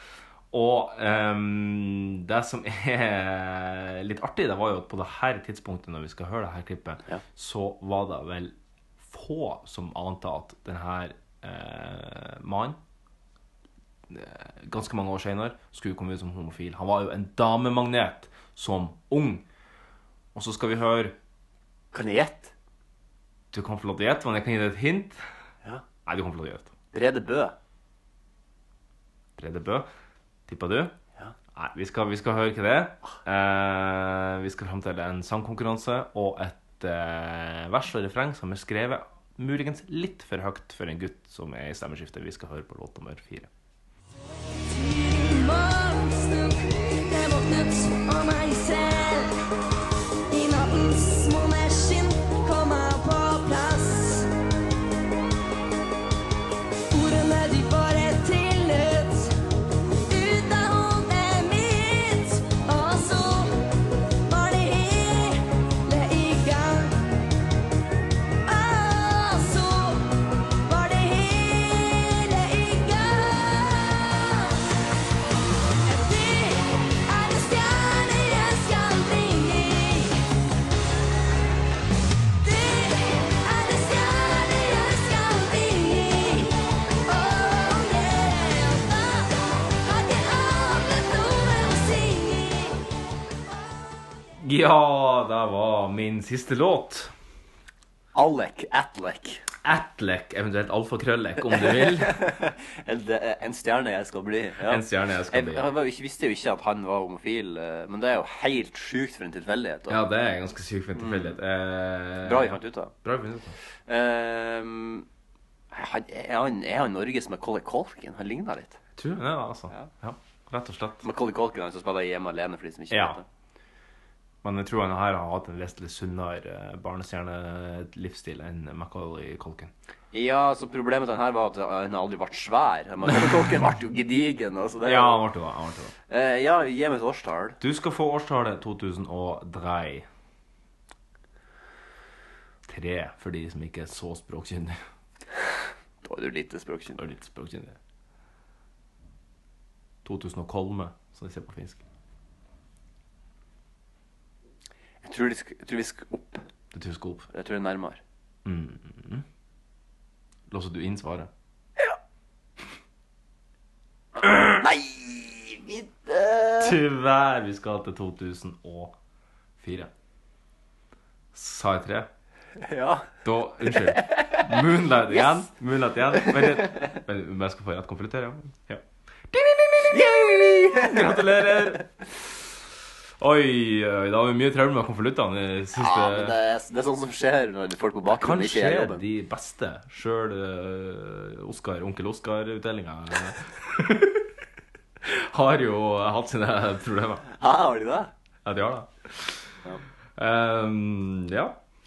Og ehm, det som er litt artig, det var jo at på det her tidspunktet når vi skal høre det her klippet, så var det vel få som ante at den her eh, mannen eh, ganske mange år senere skulle komme ut som homofil. Han var jo en damemagnet som ung. Og så skal vi høre
Kan jeg gjette?
Du kan få lov til å gjette, men jeg kan gi deg et hint.
Ja.
Nei, du kan få lov til å gjette.
Brede Bø.
Brede Bø. Tippa du? Nei, vi skal, vi skal høre ikke det. Eh, vi skal fram til en sangkonkurranse og et eh, vers og refreng som er skrevet muligens litt for høyt for en gutt som er i stemmeskiftet. Vi skal høre på låt nummer fire.
Jeg våknet av meg selv. I nattens måneskinn kom jeg på plass. Ordene de bare trillet ut av hodet mitt. Og så var det hele i gang. Og så var det hele i gang. Er det stjerne jeg skal bli? Det er det stjerne jeg skal bli. Oh yeah, da har ikke annet noe å si.
Ja, det var min siste låt.
Alek Atlek.
Atlek, eventuelt alfakrøllek, om du vil.
en, det er en stjerne jeg skal bli.
En stjerne jeg skal bli, ja.
Jeg, var jo ikke- visste jo ikke at han var homofil, eh, men det er jo helt sjukt for en tilfeldighet. da.
Ja, det er ganske sykt for en tilfeldighet. Eh,
Bra vi fant ut av.
Bra vi fant ut av.
Ehm, han, er, han, er han Norges Macaulay Culkin? Han ligner litt.
Tror jeg det, altså. Ja, rett og slett.
Macaulay Culkin er han som spiller hjemme alene for de som ikke
Ja.
vet det.
Men jeg tror han her har hatt en vesentlig sunnere eh, barnestjernelivsstil enn Macauley Colkin.
Ja, så problemet med den her var at eh, han aldri ble svær. Macaulay Culkin ble jo gedigen. Altså, det er jo-
Ja, han ble det. Han ble det.
Eh, ja, gi meg et årstall.
Du skal få årstallet 2003. Tre, for de som ikke er så språkkyndige.
Da er du lite språkkyndig.
Da er du litt språkkyndig. 2000 som de sier på finsk.
Jeg tror, de sk jeg tror vi skal opp.
Du tror vi skal opp?
Jeg tror det er nærmere.
Mm. Låser du inn svaret?
Nei!
Tyvärr, vi skal til 2004. Sa jeg tre?
Ja.
Da, unnskyld. Moonlight
Yes!
igjen. Moonlight igjen. Men, det, men, men jeg skal få rett konvolutter, ja. ja. Gratulerer. Oi, oi, det har vi mye trøbbel med konvoluttene i siste
Ja, men det er, det er sånn som skjer når folk på bakgrunnen ikke
Kanskje
gjør jobben.
de beste. Sjøl Oskar, onkel Oskar-utdelinga har jo hatt sine problemer.
Ja, har de det?
Ja, de har det. Ehm, ja.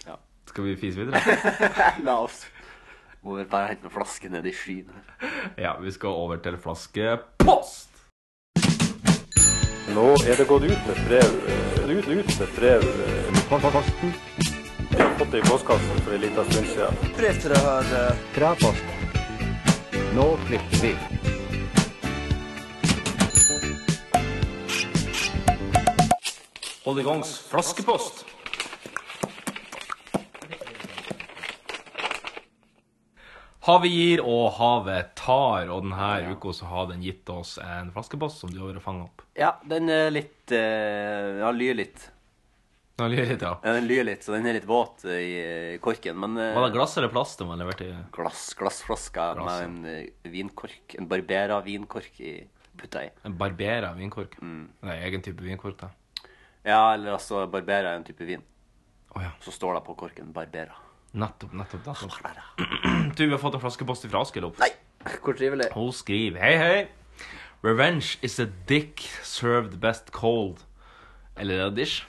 Ja.
Skal vi fise videre?
Eh, La oss Må vel bare hente noen flasker ned i skyen her.
ja, vi skal over til flaskepost.
Nå er det gått ut med brev. eh, Ut, ut med brev. Postkassen. Vi har fått det i postkassen for en liten stund siden.
Brev til deg her.
Krapost. Nå klipper vi.
Hold i gangs flaskepost. Havet gir og havet tar, og denne uka så har den gitt oss en flaskepost som du har vært fanget opp.
Ja, den er litt eh, Ja, lyr litt.
Den lyr litt, ja.
Den lyr litt, så den er litt våt eh, i eh, korken. Men eh,
Var det glass eller plast den var levert i?
Glass, glassflaska
Glass,
med
ja.
en eh, vinkork. En barbera vinkork i putta i.
En barbera vinkork? Det er egen type vinkork, da.
Ja, eller altså barbera er en type vin. Så står det på korken 'Barbera'.
Nettopp, nettopp, nettopp. Du, vi har fått en flaskepost fra Askel opp. Nei,
hvor trivelig.
Hun skriver, hei, hei. Revenge is a dick served best cold. Eller er det dish?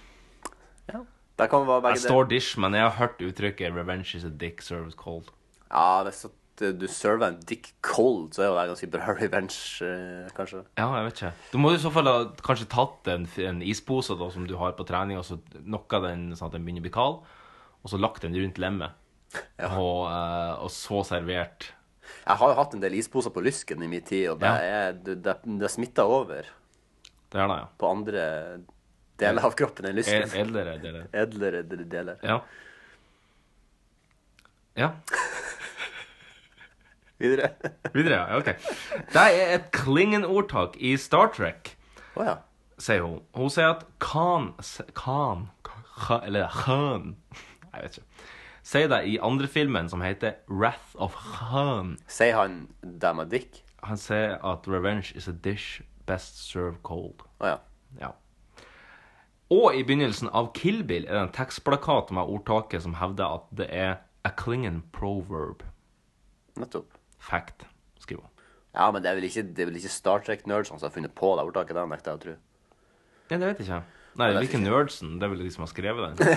Der kan det være begge
Jeg står dish, men jeg har hørt uttrykket revenge is a dick served cold.
Ja, hvis at eh, du server en dick cold, så er jo det ganske bra revenge, eh, kanskje.
Ja, jeg vet ikke. Du må i så fall ha kanskje tatt en, en ispose da, som du har på trening, og så knocka den sånn at den begynner å bli kald, og så lagt den rundt lemmet, og, eh, og så servert.
Jeg har jo hatt en del isposer på lysken i min tid, og det, er, det, det, det smitter over
Det er det, ja.
på andre deler av kroppen enn lysken.
Ed- Edlere deler.
Edlere del- deler.
Ja. Ja.
Videre.
Videre, ja. Ok. Det er et klingende ordtak i Star Trek,
Å ja.
sier hun. Hun sier at Khan s- Khan Kha- Eller Khan Jeg vet ikke. Sier det i andre filmen som heter Wrath of Khan.
Sier han 'damn a dick'?
Han sier at 'revenge is a dish best served cold'.
Å ja.
Ja. Og i begynnelsen av Kill Bill er det en tekstplakat med ordtaket som hevder at det er a klingen proverb.
Nettopp.
Fact, skriver hun.
Ja, men det er vel ikke, det er vel ikke Star Trek-nerds som har funnet på det ordtaket, det nekter jeg å tro.
Ja, det vet jeg ikke. Nei,
Jeg vet
hvilken nerdsen? Det er vel de som har skrevet den?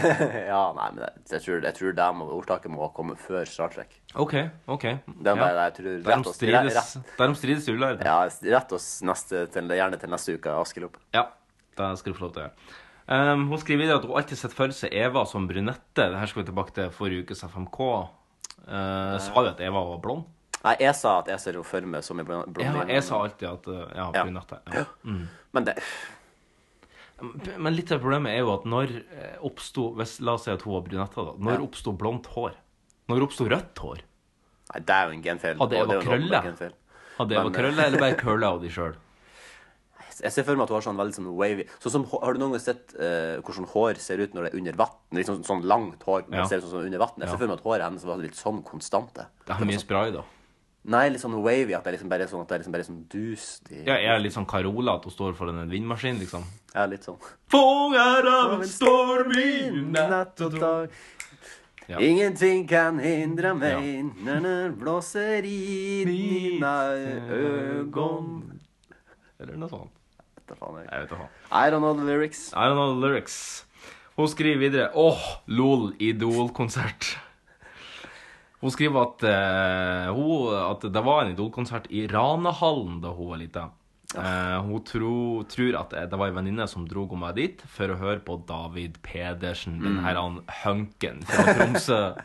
ja, nei, men jeg, jeg tror, jeg tror det må, ordtaket må komme før Star Trek.
OK, OK.
Den bare jeg tror
Derom
rett oss-
strides,
rett-
derom strides ulærde.
Ja, rett oss neste, til, gjerne til neste uke, Askelopp.
Ja, det skal du få lov til å gjøre. Ehm, hun skriver videre at hun alltid sett for seg Eva som brunette. Det her skal vi tilbake til forrige ukes FMK. Eh, sa du at Eva var blond?
Nei, jeg sa at jeg ser henne for meg som en blond-
Ja,
blondine.
jeg sa alltid at eh, ja,
Ja.
brunette. Ja. Mm.
Men det
Men litt av problemet er jo at når eh, oppsto hvis- La oss si at hun var brunette, da. Når
Ja.
oppsto blondt hår? Når oppsto rødt hår?
Nei, det er jo en genfeil.
Hadde
og
Eva
det er jo en åpenbar
krøller?
genfeil.
Hadde Eva
Men, eh,
krøller, eller bare curla hun de sjøl?
Jeg ser for meg at hun har sånn veldig sånn wavy Sånn som, Har du noen gang sett eh, hvordan hår ser ut når det er under vann? Litt sånn, sånn langt hår. men
Ja.
Det ser ut som sånn under vatten. Jeg
Ja.
ser for meg at håret hennes var litt sånn konstante.
Det er mye spray, da.
Nei, litt sånn wavy. At det er liksom bare er sånn, at det er liksom bare er sånn dust i
Ja, jeg er litt sånn Carola, at hun står foran en vindmaskin, liksom.
Ja, litt sånn.
Fångar av en storm i natt og
dag.
Ja.
Ingenting kan hindre meg
Ja.
når det blåser i dine øgon
Eller noe sånt.
Vet da faen, jeg.
Jeg vet da faen.
I don't know the lyrics.
I don't know the lyrics. Hun skriver videre Åh, lol, Idol-konsert. Hun skriver at, eh, hun, at det var en Idol-konsert i Ranahallen da hun var lita. Eh, hun tro, tror at det var ei venninne som dro henne med dit for å høre på David Pedersen, den
Mm.
her han hunken fra Tromsø.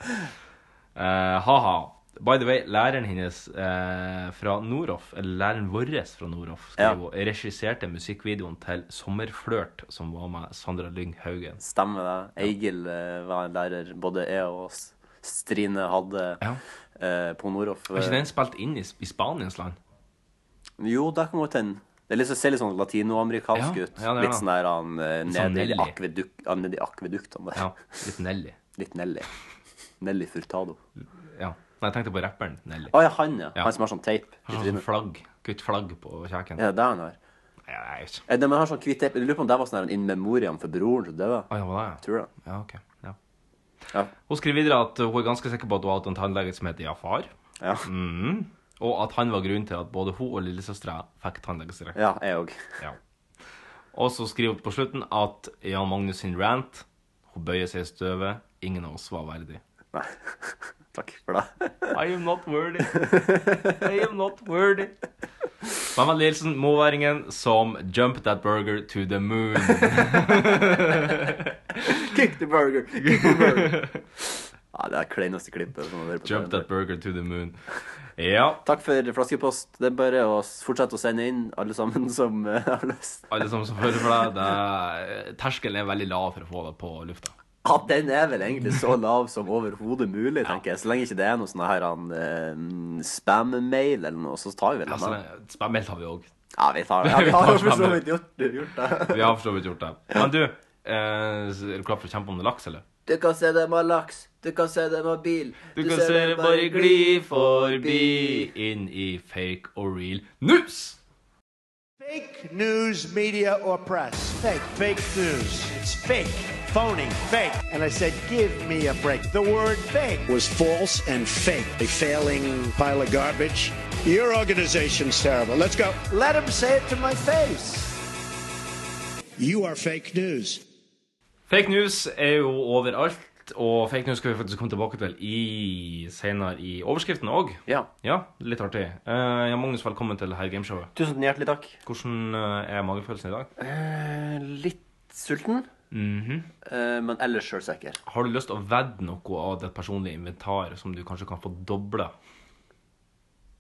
Eh, Ha-ha. By the way, læreren hennes eh, fra Noroff, eller læreren vår fra Noroff,
Ja.
skrev hun, regisserte musikkvideoen til 'Sommerflørt', som var med Sandra Lyng Haugen.
Stemmer det. Eigil eh, var en lærer. Både jeg og s- Strine hadde eh, på Nordhoff.
Var ikke den spilt inn i, i Spaniens land?
eh, Jo, det kan godt hende. Det er litt, så- ser litt sånn latinoamerikansk
Ja,
ut.
ja, det er
litt
det.
sånn der han eh,
Litt sånn
nede i de
Nelly.
akveduk, ja, nede i akveduktene der.
Ja, litt Nelly.
Litt Nelly. Nelly Furtado.
Ja. Nei, jeg tenkte på rapperen Nelly.
Å ja, han, ja.
Ja.
Han som har sånn teip. i
Han har sånn
trynet.
flagg. Kutt flagg på kjeken.
Er det det han har?
Nei, jeg vet ikke.
Eh, De har sånn hvit teip. Jeg lurer på om det var sånn her en in memoriam for broren til døde.
Å, ja, var det, ja.
Tror det.
Ja, ok. Ja.
Ja.
Hun skriver videre at hun er ganske sikker på at hun har hatt en tannlege som heter Jafar. Mhm. Og at han var grunnen til at både hun og lillesøstera fikk tannlegestrekk.
Ja, jeg òg.
Ja. Og så skriver hun på slutten at Jan Magnus sin rant Hun bøyer seg i støvet. Ingen av oss var verdig.
Nei. Takk for det.
I am not worthy. I am not worthy. Mamma Nilsen, moværingen som 'Jump that burger to the moon'.
Kick the burger! Kick the burger. Ja, det er kleineste klippet. som jeg har hørt på
Jump
TV.
that burger to the moon. Ja.
Takk for flaskepost. Det er bare å fortsette å sende inn, alle sammen som eh, har lyst.
Alle som som føler for deg, det er, terskelen er veldig lav for å få det på lufta.
Ja, den er vel egentlig så lav som overhodet mulig, tenker jeg. Så lenge ikke det er noe sånn her han, eh, spam-mail eller noe, så tar vi vel
Altså,
den. da.
Spemmelt har vi òg.
Ja, vi tar ja, vi har jo for så
spam-mail.
vidt gjort, gjort det.
Vi har for så vidt gjort det. Men du, eh, er du klar for å kjempe om det laks, eller?
Du kan se dem av laks, du kan se dem av bil.
Du kan se det bare gli forbi inn i fake og real news.
Fake news, media, or press. Fake. Fake news. It's fake. Phony. Fake. And I said, give me a break. The word fake was false and fake. A failing pile of garbage. Your organization's terrible. Let's go. Let them say it to my face. You are fake news.
Fake news er jo overalt, og fake news skal vi faktisk komme tilbake til i senere i overskriften òg.
Ja.
litt artig. Eh, ja, Magnus, velkommen til her gameshowet.
Tusen hjertelig takk.
Hvordan eh, er magefølelsen i dag?
Eh, litt sulten,
Mhm.
eh, men ellers sjølsikker.
Har du lyst til å vedde noe av ditt personlige inventar som du kanskje kan få dobla?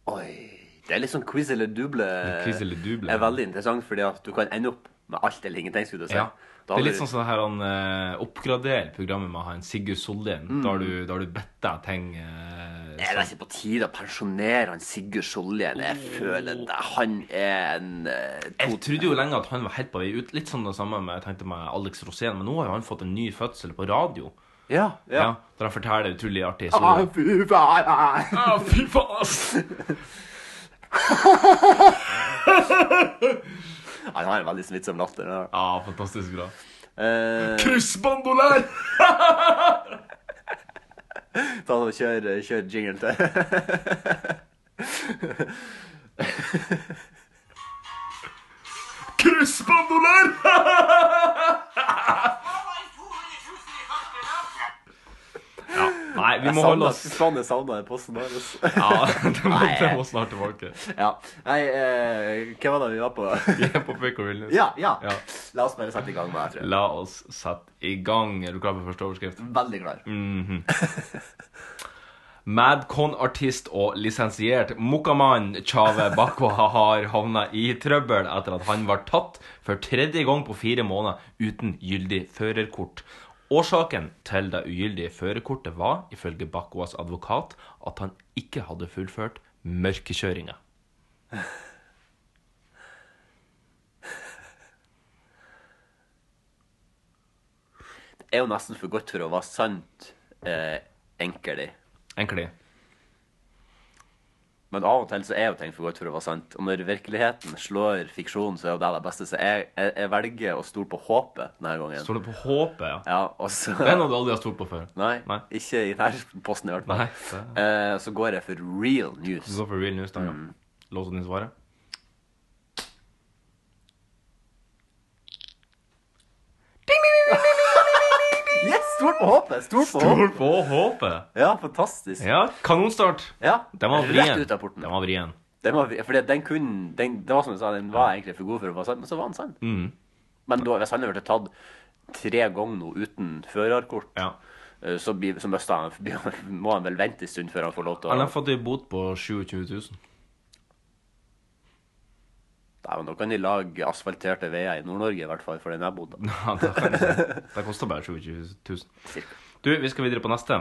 Oi. Det er litt sånn quiz eller duble.
Quiz eller duble.
er veldig interessant, fordi at du kan ende opp med alt eller ingenting, skulle du si.
Ja.
Da
Det er
har
litt
du-
sånn som det her han eh, oppgraderer programmet med han Sigurd Sollien.
Mm.
Da har du, da har du bedt deg ting eh,
Er det ikke på tide å pensjonere han Sigurd Solhjell? Jeg føler det. Han er en eh,
Mm. Jeg trodde jo lenge at han var helt på vei ut. Litt sånn det samme med, jeg tenkte med Alex Rosén, men nå har jo han fått en ny fødsel på radio.
Ja, ja.
Der han forteller utrolig artig
Ah,
historie.
fy faen!
Ah, fy faen!
Han har en veldig smittsom latter. Ja,
ah, fantastisk bra.
Eh,
Kryssbandolær!
ta og kjør, kjør jinglen til.
Kryssbandolær! Nei, vi må holde oss
Sånn er savna i posten der. altså.
Ja, det må,
Nei,
det må snart tilbake.
Ja. Nei, eh, hva var det vi var på?
Vi er på Fake or Realness.
ja, ja, La oss bare sette i gang med det, tror jeg.
La oss sette i gang. Er du klar for første overskrift?
Veldig klar.
Mhm. Madcon-artist og lisensiert mokkamann Chave Bakwa har havna i trøbbel etter at han var tatt for tredje gang på fire måneder uten gyldig førerkort. Årsaken til det ugyldige førerkortet var, ifølge Bakwas advokat, at han ikke hadde fullført mørkekjøringa.
er jo nesten for godt for å være sant, eh, enkelt.
Egentlig.
Men av og til så er jo ting for godt for å være sant. Og når virkeligheten slår fiksjonen, så er jo det det beste. Så jeg, jeg, jeg velger å stole på håpet denne gangen.
Står det på håpet, ja.
Ja, og så...
Det er noe du aldri har stolt på før.
Nei, ikke i denne posten i hvert fall.
Nei, det-
Eh, så går jeg for real news.
Du går for real news, da, ja.
Mm.
Låser du inn svaret?
Yes, stort på håpet! Stort på
Mm. Stol
håpet!
på håpet!
Ja, fantastisk.
Ja, kanonstart.
Ja,
Den var
rett
vrien.
ut av porten.
Den var vrien.
Den var, fordi at den kunne, den, det var som du sa, den var egentlig for god for å være sann, men så var den sann.
Mm.
Men da, hvis han hadde blitt tatt tre ganger nå uten førerkort, eh, så, blir- så mister han, blir han- må han vel vente en stund før han får lov til
Han har
å
fått en bot på 27 000.
Nei, men Nå kan de lage asfalterte veier i Nord-Norge, i hvert fall, for den jeg bodde.
Ja, det kan jeg si. Det koster bare 27 000. Du, vi skal videre på neste.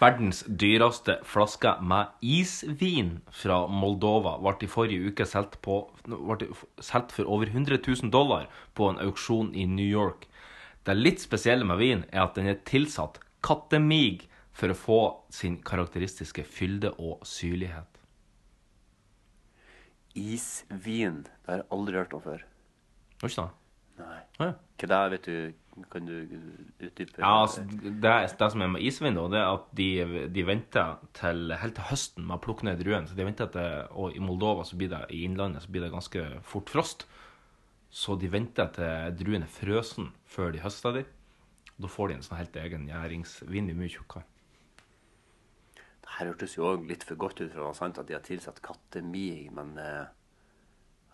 Verdens dyreste flaske med isvin fra Moldova ble i forrige uke solgt, på, ble solgt for over 100 000 dollar på en auksjon i New York. Det litt spesielle med vin er at den er tilsatt kattemig for å få sin karakteristiske fylde og syrlighet.
Isvin. Det har jeg aldri hørt om før.
Var ikke det?
Nei.
Ja.
Hva det er, vet du Kan du utdype?
Ja, altså, det, er- det som er med isvin, da, det er at de, de venter til helt til høsten med å plukke ned druen. Så de venter til, Og i Moldova, så blir det, i innlandet, så blir det ganske fort frost. Så de venter til druen er frøsen før de høster de. Da får de en sånn helt egen gjæringsvin. de er Mye tjukkere.
Det her hørtes jo òg litt for godt ut for å være sant at de har tilsatt kattemig, men eh,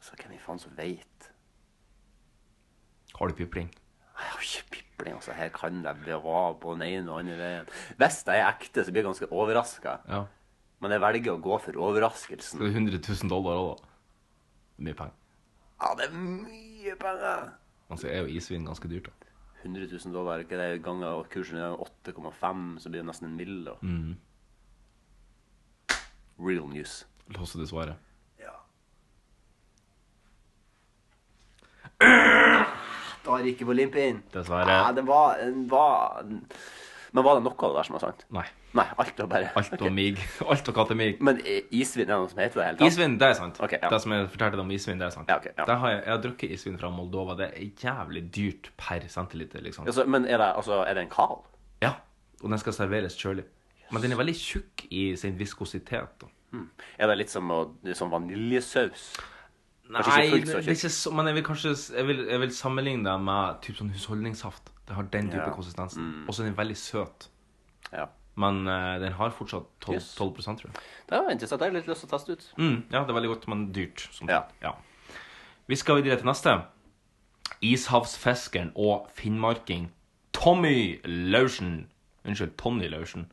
Så hvem i faen som veit?
Har du pipling?
Jeg har ikke pipling. altså Her kan jeg bevare på den ene og den andre veien. Hvis jeg er ekte, så blir jeg ganske overraska.
Ja.
Men jeg velger å gå for overraskelsen.
Det er 100 000 dollar òg, da. Mye penger.
Ja, det er mye penger!
Altså, er jo isvin ganske dyrt, da.
100 000 dollar, ikke det ganger kursen er 8,5, så blir det nesten en mill. da.
Mm.
Real news.
Låser du svaret?
Da ryker Bolimpien.
Dessverre.
Ja, den var, den var Men var det noe av det der som var sant?
Nei.
Nei, alt var bare
Alt og mig. Alt og kattemig.
Men i- isvin er det noe som heter det? i hele tatt?
Isvin, det er sant.
Ok, ja.
Det som jeg fortalte deg om isvin, det er sant.
Ja, ok, ja.
Der har jeg, jeg har drukket isvin fra Moldova. Det er jævlig dyrt per centiliter, liksom.
Altså, men er det, altså, er det en kal?
Ja. Og den skal serveres kjølig. Men den er veldig tjukk i sin viskositet. Da.
Hmm. Er det litt som, å, som vaniljesaus? Kanskje
Nei,
ikke fullt
det
så
det er
tjukk.
ikke så, men jeg vil kanskje jeg vil, jeg vil sammenligne det med typ sånn husholdningssaft. Det har den type
Ja.
konsistensen.
Mm.
Og så er den veldig søt.
Ja.
Men eh, den har fortsatt 12,
Yes.
12 tror jeg.
Det var interessant. Jeg har litt lyst til å teste ut.
Mm, ja, det er veldig godt, men dyrt. Som sagt. Ja. Vi skal videre til neste. Ishavsfiskeren og finnmarking Tommy Laursen Unnskyld, Tonny Laursen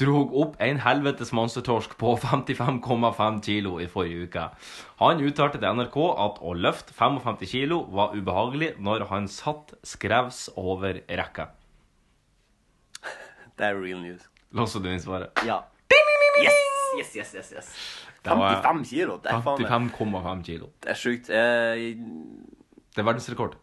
drog opp en helvetes monstertorsk på 55,5 kilo i forrige uke. Han uttalte til NRK at å løfte 55 kilo var ubehagelig når han satt skrevs over rekka.
Det er real news.
Låser du inn svaret?
Ja. Yes, yes, yes, yes, yes.
Det var-
55 kilo. Det er faen meg
55,5 kilo.
Det er sjukt. Eh,
Det er verdensrekord.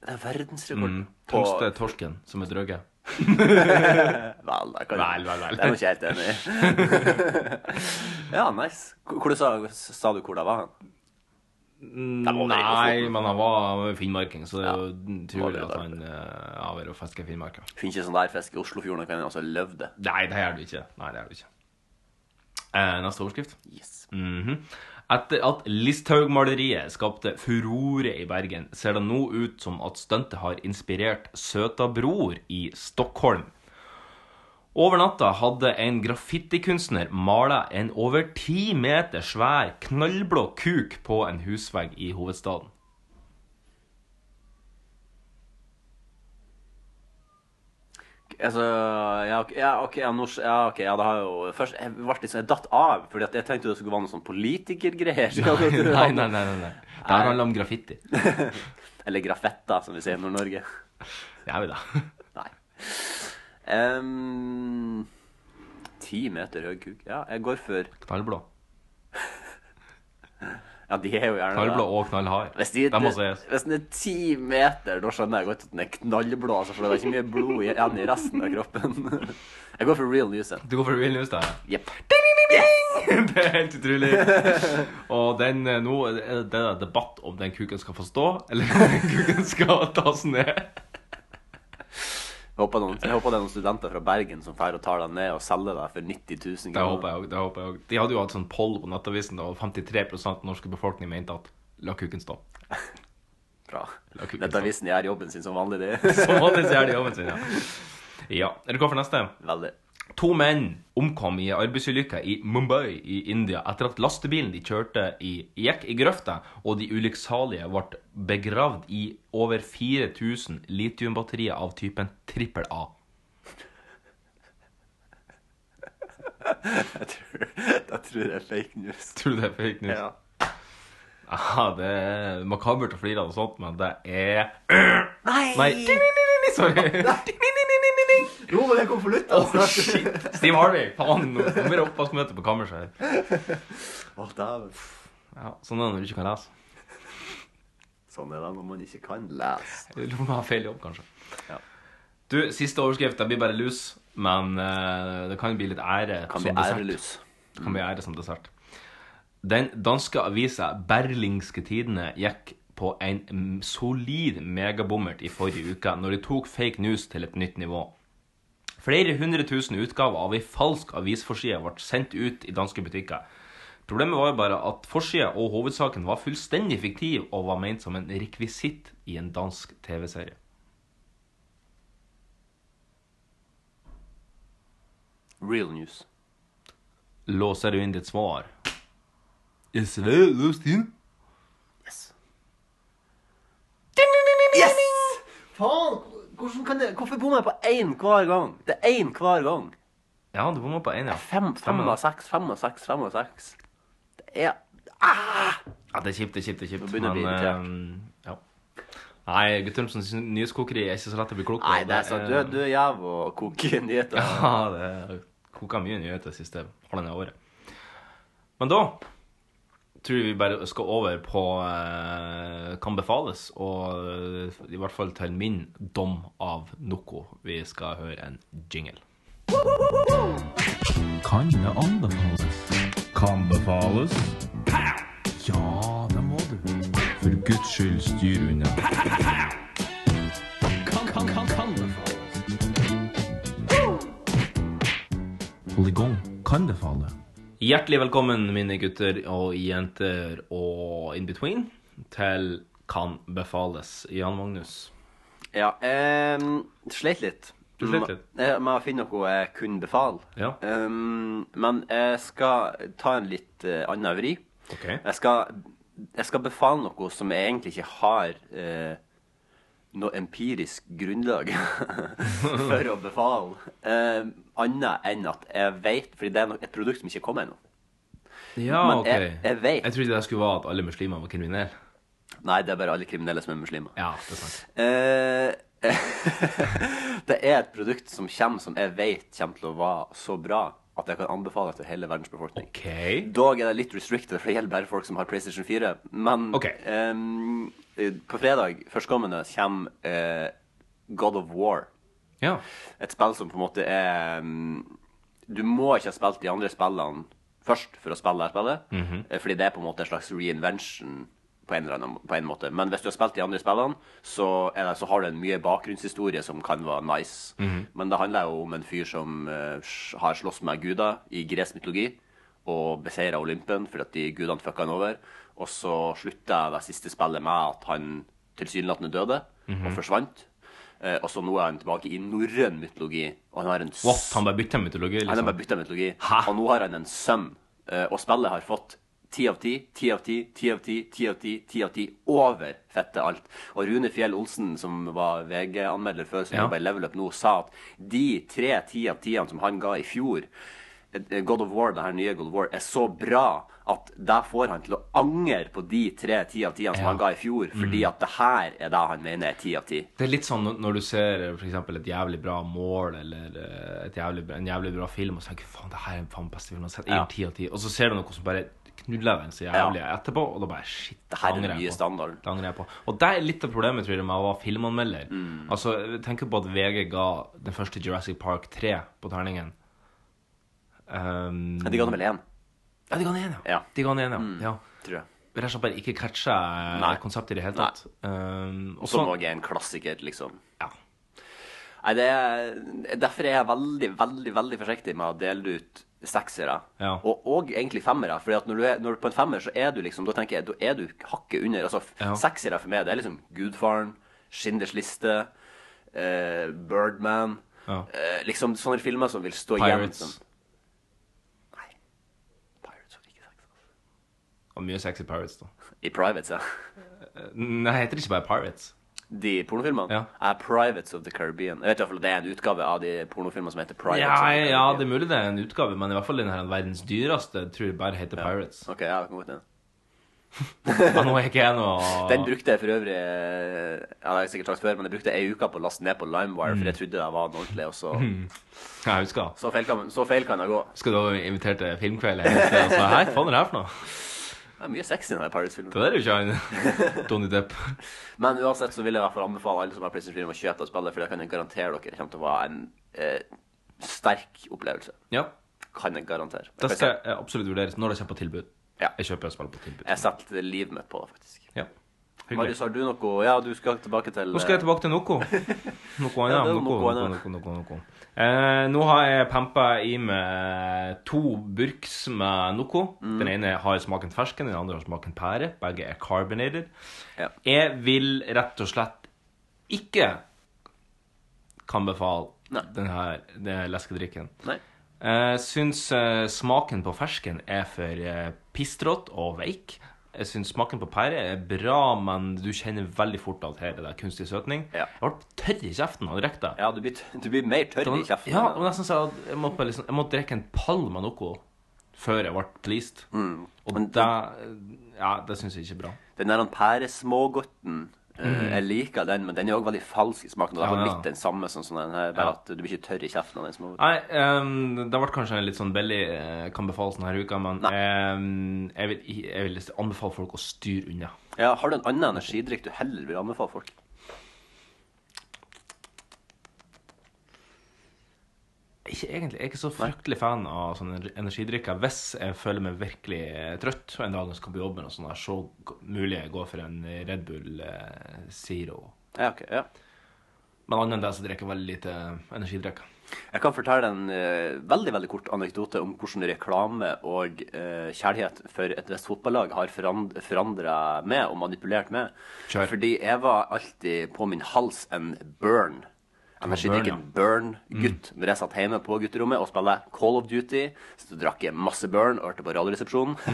Det er verdensrekord.
Mm.
På-
Tungste torsken som er drøyet.
vel, jeg kan...
Vel, vel, vel.
Det er jeg ikke helt enig i. ja, nice. Hvor hvor du sa, sa du hvor det var? Da må vi gå
Nei,
foten.
men han var finnmarking, så det er jo
må
trolig
vi
at
da.
han eh, har vært og fiska i Finnmarka.
Finner ikke sånn der fisk i Oslofjorden, da kan jeg altså løve det.
Nei, det gjør du ikke. Nei, det gjør du ikke. Eh, neste overskrift. Mhm. Etter at Listhaug-maleriet skapte furore i Bergen, ser det nå ut som at stuntet har inspirert Søta Bror i Stockholm. Over natta hadde en graffitikunstner mala en over ti meter svær knallblå kuk på en husvegg i hovedstaden.
Altså, ja, ok, ja, ok, ja, nå sk- ja, ok, ja, det har jo Først, jeg ble litt sånn, jeg datt av, fordi at jeg tenkte det skulle være noe sånn politikergreier.
Nei, nei, nei. nei, nei. Det her handler om graffiti.
Eller graffetta, som vi sier i Nord-Norge.
Det er vi da.
Nei. Ehm, Ti meter høy kuk. Ja, jeg går for
Knallblå.
Ja, de er jo gjerne det.
Knallblå og knallhard.
Hvis, de,
Det må sies.
hvis den er ti meter, da skjønner jeg godt at den er knallblå, altså, for det var ikke mye blod i, igjen i resten av kroppen. Jeg går for real news. jeg.
Du går for real news, da?
Jepp.
Det er helt utrolig. Og den, eh, nå er det er det debatt om den kuken skal få stå, eller om den kuken skal tas ned.
Jeg håper, noen, jeg håper det er noen studenter fra Bergen som drar og tar deg ned og selger deg for 90 000
Det håper jeg òg. Det håper jeg også. De hadde jo hatt sånn poll på Nettavisen, da, og 53 av den norske befolkningen mente at la kuken stå.
Bra.
La kuken
Dette avisen gjør jobben sin som vanlig, de.
stå. Som vanlig så gjør de jobben sin, ja. Ja. Er du klar for neste?
Veldig.
To menn omkom i en arbeidsulykke i Mumbai i India etter at lastebilen de kjørte i, gikk i grøfta, og de ulykksalige ble begravd i over 4000 litiumbatterier av typen trippel A.
Jeg tror, jeg tror det er fake news.
Tror du det er fake news?
Ja.
Aha, det er makabert å flire av og sånt, men det er
Nei!
Nei, sorry.
Jo, men det kom for lutt,
Åh, shit. Steve Harvey, faen. Nå blir det oppvaskmøte på kammerset her.
Å, dæven.
Ja, sånn er det når du ikke kan lese.
Sånn er det når man ikke kan lese.
Jeg lurer på om jeg har feil jobb, kanskje.
Ja.
Du, siste overskrift. Det blir bare lus, men eh, det kan bli litt ære
Kan
som
bli
dessert.
ærelus.
Det kan bli ære som dessert. Den danske avisa Berlingske Tidende gikk på en mm, solid megabommert i forrige uke når de tok fake news til et nytt nivå. Flere hundre tusen utgaver av ei falsk avisforside ble sendt ut i danske butikker. Problemet var jo bare at forsida og hovedsaken var fullstendig fiktiv og var ment som en rekvisitt i en dansk TV-serie.
Real news.
Låser du inn ditt svar?
Yes! Faen! Hvordan kan det, hvorfor bommer jeg på én hver gang? Det er én hver gang.
Ja, du bomma på én, ja.
Fem, fem av seks, fem av seks, fem av seks. Det er
Ja, det er kjipt, det er kjipt. det er kjipt.
Nå begynner jeg å bli
eh, ja. Nei, Guttormsens nyhetskokeri er ikke så lett å bli klok på.
Nei, det er sant. Du, er- du er jæv å koke nyheter.
Ja, det er- koka mye nyheter siste halvannet året. Men da tror jeg vi bare skal over på eh, kan befales, og eh, i hvert fall til min dom av noe. Vi skal høre en jingle.
Kan det anbefales? Kan befales? Ja, det må du. For guds skyld, styr unna. Kan, kan, kan, kan befales. Hold i gang. Kan det falle?
Hjertelig velkommen, mine gutter og jenter og in between, til Kan befales. Jan Magnus.
Ja, em, sleit litt.
Du sleit litt?
M- eh, Med å finne noe jeg kunne befale.
Ja.
Em, men jeg skal ta en litt eh, annen vri.
Ok.
Jeg, skal, jeg skal befale noe som jeg egentlig ikke har eh, noe empirisk grunnlag for å befale. Um, annet enn at jeg vet Fordi det er no- et produkt som ikke kom ennå.
Ja,
Men
ok.
jeg- jeg vet-
trodde det skulle være at alle muslimer var kriminelle.
Nei, det er bare alle kriminelle som er muslimer.
Ja, det er sant.
Eh, det er et produkt som kommer som jeg vet kommer til å være så bra at jeg kan anbefale det til hele verdens befolkning. Dog er det litt restricted, for det gjelder bare folk som har PlayStation 4. Men ehm, eh, på fredag førstkommende kommer eh, God of War. Et spill som på en måte er ehm, Du må ikke ha spilt de andre spillene først for å spille det her spillet.
Mhm.
Eh, Fordi det er på en måte en slags reinvention på en, eller annen, på en måte. Men hvis du har spilt de andre spillene, så, er det, så har du en mye bakgrunnshistorie som kan være nice.
Mhm.
Men det handler jo om en fyr som eh, sj- har slåss med guder i gresk mytologi, og beseira Olympen fordi at de gudene fucka han over. Og så slutta det siste spillet med at han tilsynelatende døde,
Mhm.
og forsvant. Eh, og så nå er han tilbake i norrøn mytologi, og han har en
What? Han bare bytta mytologi,
han har
liksom?
bare bytta mytologi. Og nå har han en sønn. eh, Og spillet har fått ti av ti, ti av ti, ti av ti, ti av ti, ti av ti. Over fette alt. Og Rune Fjell Olsen, som var VG-anmelder før, som
Ja.
jobba i Level Up nå, sa at de tre ti av tiene som han ga i fjor eh, God of War, det her nye God of War, er så bra at det får han til å angre på de tre ti av tiene som
Ja.
han ga i fjor, fordi
Mm.
at det her er det han mener er ti av ti.
Det er litt sånn når- når du ser eh, for eksempel et jævlig bra mål eller eh, et jævlig, bra- en jævlig bra film, og så tenker du faen, det her er den faen beste filmen jeg har sett.
Ja.
Ja. 10 av 10. Og så ser du noe som bare knuller deg så jævlig etterpå, og da bare shit. Det
her er den
angrer jeg
nye
på.
standarden.
Det angrer jeg på. Og det er litt av problemet, tror jeg, med å være filmanmelder.
Mm.
Altså, tenk på at VG ga den første Jurassic Park 3 på terningen. Um,
Ja, de ga den vel én?
Ja, de ga den én, ja. De ga den én, ja. ja.
Tror jeg.
Rett og slett bare ikke catcha eh,
Nei.
konseptet i det hele tatt. Um,
Og som
så-
også er en klassiker, liksom. Nei, det er, derfor er jeg veldig, veldig veldig forsiktig med å dele ut seksere.
Ja.
Og, og egentlig femmere. For når, du er- når du er på en femmer, så er du liksom Da tenker jeg, da er du hakket under. Altså, f-
Ja.
Seksere for meg, det er liksom Gudfaren, Schindlers liste, eh, Birdman
Ja.
eh, Liksom sånne filmer som vil stå igjen.
Pirates.
Som,
Og mye sexy pirates, da.
I Privates, ja.
Nei, heter det ikke bare Pirates?
De pornofilmene? Er Privates of the Caribbean. Jeg vet i hvert fall at Det er en utgave av de pornofilmene som heter Privates.
ja,
of the
ja, det er mulig det er en utgave, men i hvert fall den her verdens dyreste tror jeg bare heter Pirates.
Ok, ja, det kan godt hende.
Ja, nå er ikke jeg noe
Den brukte jeg for øvrig eh, Ja, det har jeg sikkert sagt før, men jeg brukte ei uke på å laste ned på LimeWire,
Mm.
for jeg trodde det var den ordentlige, og så
Mm. Ja, jeg husker
Så feil kan, så feil kan det gå.
Skal du ha invitert til filmkveld? eller noe sted, og så, Hei, hva faen er det her for noe?
Det er mye sex i denne Pirates-filmen.
Det der er jo ikke han Donny Depp.
Men uansett så vil jeg i hvert fall anbefale alle som har PlayStation 4 om å kjøpe det spillet, for det kan jeg garantere dere kommer til å være en eh, sterk opplevelse.
Ja.
Kan jeg garantere.
Det
Jeg,
skal
jeg,
jeg absolutt vurderes når det kommer på tilbud.
Ja.
Jeg kjøper spill på tilbud.
jeg setter livet mitt på det, faktisk.
Ja.
Marius, har du noe Ja, du skal tilbake til eh,
Nå skal jeg tilbake til noe. Noe
Ja,
annet.
det er
noe,
noe
noe,
annet.
noe, noe, noe. Eh, nå har jeg pampa i meg eh, to burks med noe.
Mm.
Den ene har smaken fersken, den andre har smaken pære. Begge er carbonated. Jeg vil rett og slett ikke kan befale den her den leskedrikken. eh,
Nei.
Jeg syns eh, smaken på fersken er for uh, pistrått eh, og veik. Jeg syns smaken på pære er bra, men du kjenner veldig fort at her er det kunstig søtning. Jeg ble tørr i kjeften av direkte.
Ja, du blir, t- du blir mer tørr i kjeften.
Ja, og nesten så at jeg måtte, bare liksom, jeg måtte drikke en palm av noe før jeg ble pleased.
Mm.
Og det, ja, det syns jeg ikke er bra.
Den der pæresmågodten eh,
Mhm.
Jeg liker den, men den er òg veldig falsk i smaken. Og det
Ja,
er
ja.
litt den samme som sånn den her,
Ja.
bare at du blir ikke tørr i kjeften av den smågodten.
Nei, ehm, det ble kanskje en litt sånn billig eh, kan befales denne uka, men ehm, jeg, vil, i- jeg vil anbefale folk å styre unna.
Ja, har du en annen energidrikk du heller vil anbefale folk?
Ikke egentlig, Jeg er ikke så fryktelig fan av sånne ener- energidrikker. Hvis jeg føler meg virkelig eh, trøtt og en dag jeg skal på jobben, og sånn der, så g- mulig jeg går for en Red Bull eh, Zero.
Ja, ok, ja.
Men annet enn det så drikker jeg veldig lite eh, energidrikker.
Jeg kan fortelle en eh, veldig veldig kort anekdote om hvordan reklame og eh, kjærlighet for et visst fotballag har forand forandra meg og manipulert meg.
Kjør.
Fordi jeg var alltid på min hals en burn.
var Mm.
Energidrikken Burn-gutt. Når jeg satt hjemme på gutterommet og spilte Call of Duty, så drakk jeg masse Burn og hørte på Radioresepsjonen.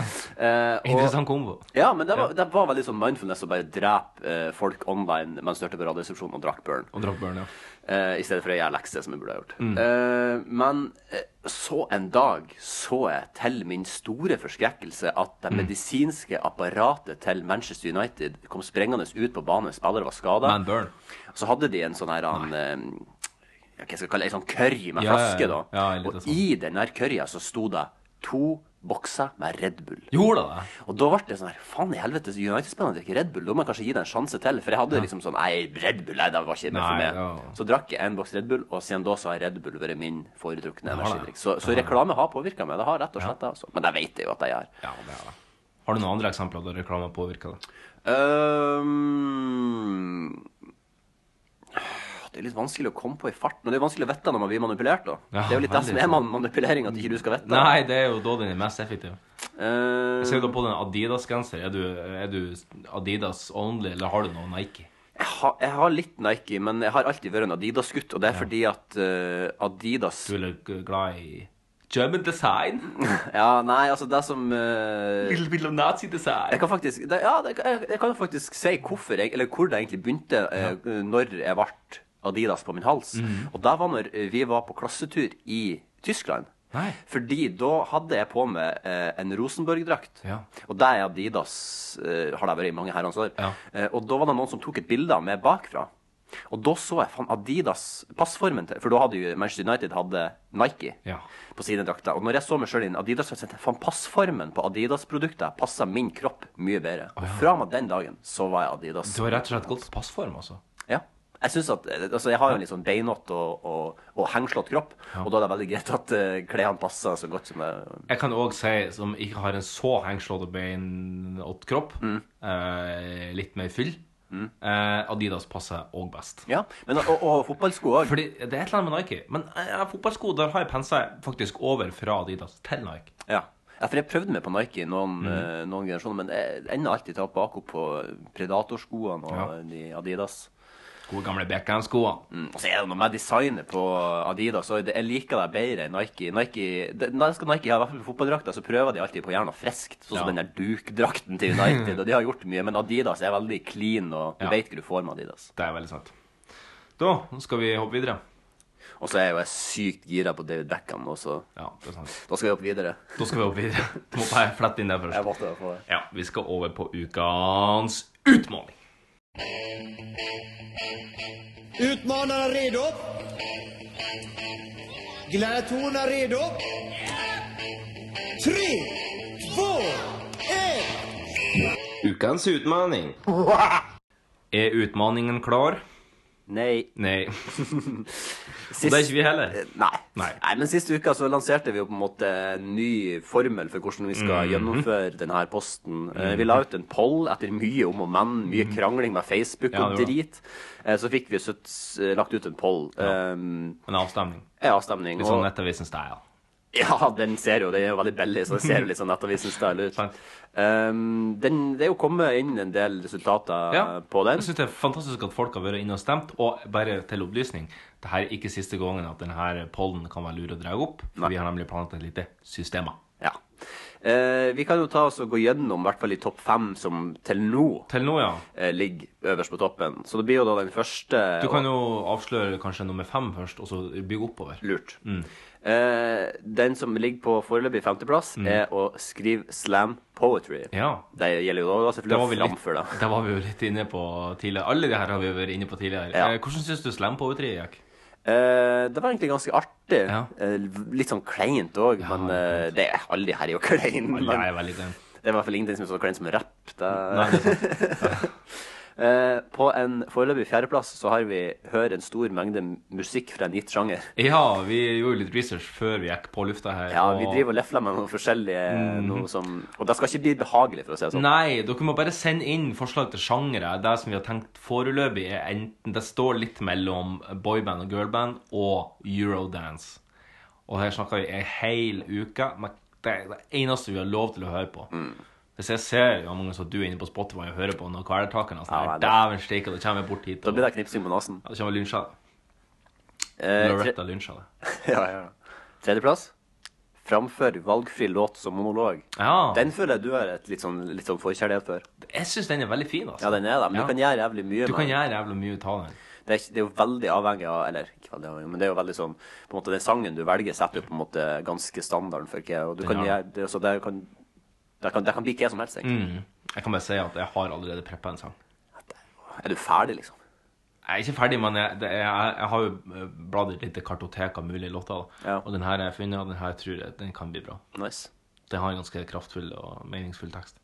Eh, og-
Mm. Interessant kombo.
Ja, men det var, det var veldig sånn mindfulness å bare drepe eh, folk online mens du hørte på Radioresepsjonen og drakk Burn.
Og drakk burn, ja.
Eh, I stedet for å gjøre lekser, som jeg burde ha gjort.
Mm.
Eh, men eh, så en dag så jeg til min store forskrekkelse at det
Mm.
medisinske apparatet til Manchester United kom sprengende ut på banen. Spillere var
Man
skada.
burn.
Så hadde de en sånn her han, eh, ja, Hva skal jeg kalle det? En sånn curry med
Ja, ja,
flaske, da.
ja. Ja, en liten
og
sånn.
i den der currya så sto det to bokser med Red Bull.
Gjorde det?
Og da ble det sånn her Faen i helvete, United-spillerne drikker Red Bull. Da må jeg kanskje gi det en sjanse til. For jeg hadde liksom sånn Nei, Red Bull, nei, det var ikke for
Nei,
meg.
ja.
Så drakk jeg en boks Red Bull, og siden da så har Red Bull vært min foretrukne
Ja, det.
energidrikk. Så, så reklame har påvirka meg. Det har rett og slett det. Altså. Men det vet jeg jo at jeg gjør.
Har du noen andre eksempler der reklame påvirker det?
Øhm, det er litt vanskelig å komme på i farten. Og det er vanskelig å vite når man blir manipulert, da.
Ja,
det er jo litt det
veldig
som er man- manipulering, at ikke du skal vite.
Nei, det er jo da den er mest effektiv.
Jeg
ser du på den Adidas-genser. Er, du- er du Adidas only, eller har du noe Nike?
Jeg har, jeg har litt Nike, men jeg har alltid vært en Adidas-gutt. Og det er fordi at eh, Adidas Du
er glad i German design?
ja, nei, altså det som eh,
Little bit of Nazi design.
Jeg kan faktisk det, Ja, det, jeg, jeg kan faktisk si hvorfor jeg, eller hvor det egentlig begynte, eh, når jeg ble Adidas på min hals.
Mhm.
Og det var når vi var på klassetur i Tyskland.
Nei.
Fordi da hadde jeg på meg eh, en Rosenborg-drakt.
Ja.
Og det er Adidas eh, har det vært i mange herrens år. Eh, og da var det noen som tok et bilde av meg bakfra. Og da så jeg faen Adidas passformen til For da hadde jo Manchester United hadde Nike på sine drakter. Og når jeg så meg sjøl inn Adidas, så tenkte jeg faen passformen på Adidas-produkter passer min kropp mye bedre. Og fra og med den dagen så var jeg Adidas.
Du har rett og slett gått på passform, altså.
Ja. Jeg synes at, altså jeg har jo en litt sånn beinete og, og, og hengslått kropp, og da er det veldig greit at eh, klærne passer så godt som det
Jeg kan òg si, som ikke har en så hengslått og beinått kropp,
Mm.
eh, litt mer fyll eh, Adidas passer òg best.
Ja, og, og fotballsko òg.
Fordi det er et eller annet med Nike. Men eh, fotballsko, der har jeg pensa faktisk over fra Adidas til Nike.
Ja. ja, for jeg prøvde meg på Nike i noen, eh, noen generasjoner, men jeg ender alltid tatt bak opp på Predator-skoene og
Ja.
de Adidas.
Gode gamle Beckham-skoene.
Mm. Og så er det noe med designet på Adidas. Og det- jeg liker det bedre enn Nike. Nike det, når skal Nike ha i hvert fall på fotballdrakta, så prøver de alltid på å gjøre noe friskt. Sånn som
Ja.
den der dukdrakten til United. og de har gjort mye, men Adidas er veldig clean, og du
Ja.
vet hva du får med Adidas.
Det er veldig sant. Da skal vi hoppe videre.
Og så er jeg jo sykt gira på David Beckham også. Da skal vi opp videre.
Da skal vi opp videre. Du måtte jeg flette inn det først.
Jeg måtte det for det.
Ja, Vi skal over på ukens utmåling.
Utmanaren redo? Gladiatorerna redo? Tre, två, ett!
Ukens utmaning. Er utmaningen klar?
Nei.
Nei.
Sist- Eh,
Og det er ikke vi heller.
Nei. Nei. men siste uka så lanserte vi jo på en måte en ny formel for hvordan vi skal
Mhm.
gjennomføre denne posten. Eh, Vi la ut en poll etter mye om og men, mye krangling med Facebook
Mhm. Ja,
og
det var det.
drit. Eh, Så fikk vi sutt- eh, lagt ut en poll. Um,
En avstemning.
Ja, avstemning.
Litt sånn
og-
Nettavisen-style.
ja, den ser jo, den er jo veldig billig, så det ser jo litt sånn Nettavisen-style ut. Um, den, det er jo kommet inn en del resultater
Ja.
på den.
Jeg synes det er fantastisk at folk har vært inne og stemt. Og bare til opplysning, det her er ikke siste gangen at denne pollen kan være lur å dra opp. For vi har nemlig planlagt et lite system.
Ja. Eh, vi kan jo ta oss og gå gjennom i hvert fall de topp fem som til nå, eh, ligger øverst på toppen. Så det blir jo da den første
Du kan jo avsløre kanskje nummer fem først, og så bygge oppover.
Lurt.
Mm.
Eh, den som ligger på foreløpig femteplass,
Mm.
er å skrive slam poetry.
Ja.
Det gjelder jo da, da
Det var vi
selvfølgelig
litt-
framfor, da.
Det var vi jo litt inne på tidligere. Alle de her har vi jo vært inne på tidligere.
Ja.
Eh, Hvordan syns du slam poetry gikk?
Eh, det var egentlig ganske artig. Eh, litt sånn kleint òg, men eh, det er alle de her er jo kleine.
Alle
men
er veldig kleine.
Det er i hvert fall ingenting som er så kleint som rapp. Det...
Nei, det
Eh, på en foreløpig fjerdeplass så har vi 'Hør en stor mengde musikk fra en gitt sjanger'.
Ja, vi gjorde litt research før vi gikk på lufta her.
Ja,
og-
Vi driver og lefler med noen forskjellige
Mhm.
noe som, Og det skal ikke bli behagelig, for å si det sånn.
Nei, dere må bare sende inn forslag til sjangere. Det som vi har tenkt foreløpig, er enten Det står litt mellom boyband og girlband og eurodance. Og her snakker vi ei hel uke. Men det er det eneste vi har lov til å høre på.
Mm.
Hvis jeg ser ja, mange som du er inne på Spotify og hører på noen kvelertakere, sånn,
Ja,
ja,
nei, det-
dæven steike, da kommer jeg bort hit.
Da blir det knipsing på nesen.
Ja, det kommer lynsja.
Eh, tre-
Loretta lynsja det.
ja, ja. Tredjeplass. Framfør valgfri låt som monolog.
Ja.
Den føler jeg du har et litt sånn, litt sånn forkjærlighet for.
Jeg syns den er veldig fin, altså.
Ja, den er det. Men du
Ja.
kan gjøre jævlig mye
Du
med
kan
den.
gjøre jævla mye ut av den.
Det er, ikke- det er jo veldig avhengig av Eller ikke veldig avhengig, men det er jo veldig sånn På en måte Den sangen du velger, setter jo på en måte ganske standarden for hva Og du
Den
kan
har
gjøre det, Så det kan, det kan, det kan bli hva som helst, egentlig.
Mm. Jeg kan bare si at jeg har allerede preppa en sang. Mm.
Er du ferdig, liksom?
Jeg er ikke ferdig, men jeg, det, jeg, jeg har jo eh, bladd et lite kartotek av mulige låter. Da. Og den her har jeg funnet, og den her tror jeg den kan bli bra.
Nice.
Den har en ganske kraftfull og meningsfull tekst.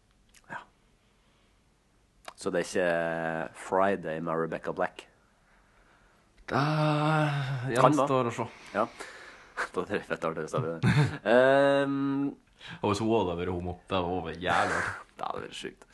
Så det er ikke eh, 'Friday' med Rebecca Black.
Det
Kan være.
gjenstår å se.
Ja. Da er det fett artig å stemme det. Um,
og hvis hun hadde vært homo, det hadde vært jævlig artig.
det hadde vært sjukt.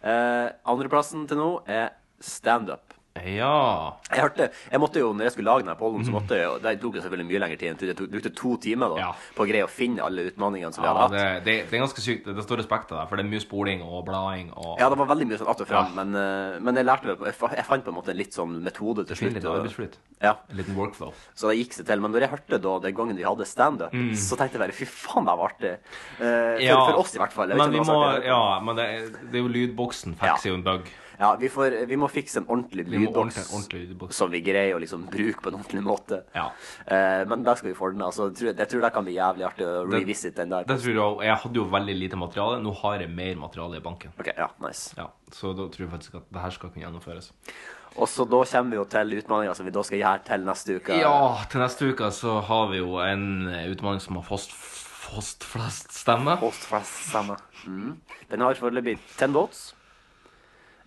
Eh, Andreplassen til nå er standup.
Ja.
Jeg hørte, jeg måtte jo, når jeg skulle lage denne pollen,
Mm.
så måtte jeg jo, det tok jo selvfølgelig mye lengre tid. Jeg tok- brukte to timer da, på å greie å finne alle utfordringene som vi
Ja,
hadde
det,
hatt.
det, det er ganske sykt. Det står respekt av det, for det er mye spoling og blading og
Ja, det var veldig mye sånn att og fram,
Ja.
men, eh, men jeg lærte vel, jeg fa- jeg fant på en måte en litt sånn metode til
Fin
slutt.
litt
og-
arbeidsflyt.
Ja.
En liten workflow.
Så det gikk seg til. Men når jeg hørte da den gangen vi hadde standup,
Mm.
så tenkte jeg bare fy faen, det var artig. Eh, for,
Ja,
for oss i hvert fall. Jeg vet
Men, vi
ikke om det
må,
var så artig.
ja, men det, er- det er jo lydboksen fikser jo en bug.
Ja, vi, får, vi må fikse en ordentlig
Vi
lydboks,
må ordne en ordentlig lydboks.
som vi greier å liksom bruke på en ordentlig måte.
Ja.
Eh, men da skal vi få den. Altså, jeg, tror, jeg tror det kan bli jævlig artig å
Det-
revisit den der.
Det tror jeg også. Jeg hadde jo veldig lite materiale. Nå har jeg mer materiale i banken.
Ok, ja, nice.
Ja, så da tror jeg faktisk at det her skal kunne gjennomføres.
Og så da kommer vi jo til utfordringa som vi da skal gjøre til neste uke.
Ja, til neste uke så har vi jo en utfordring som har fast, fast flest stemmer.
Fast flest stemmer. Mm. Den har foreløpig 10 votes.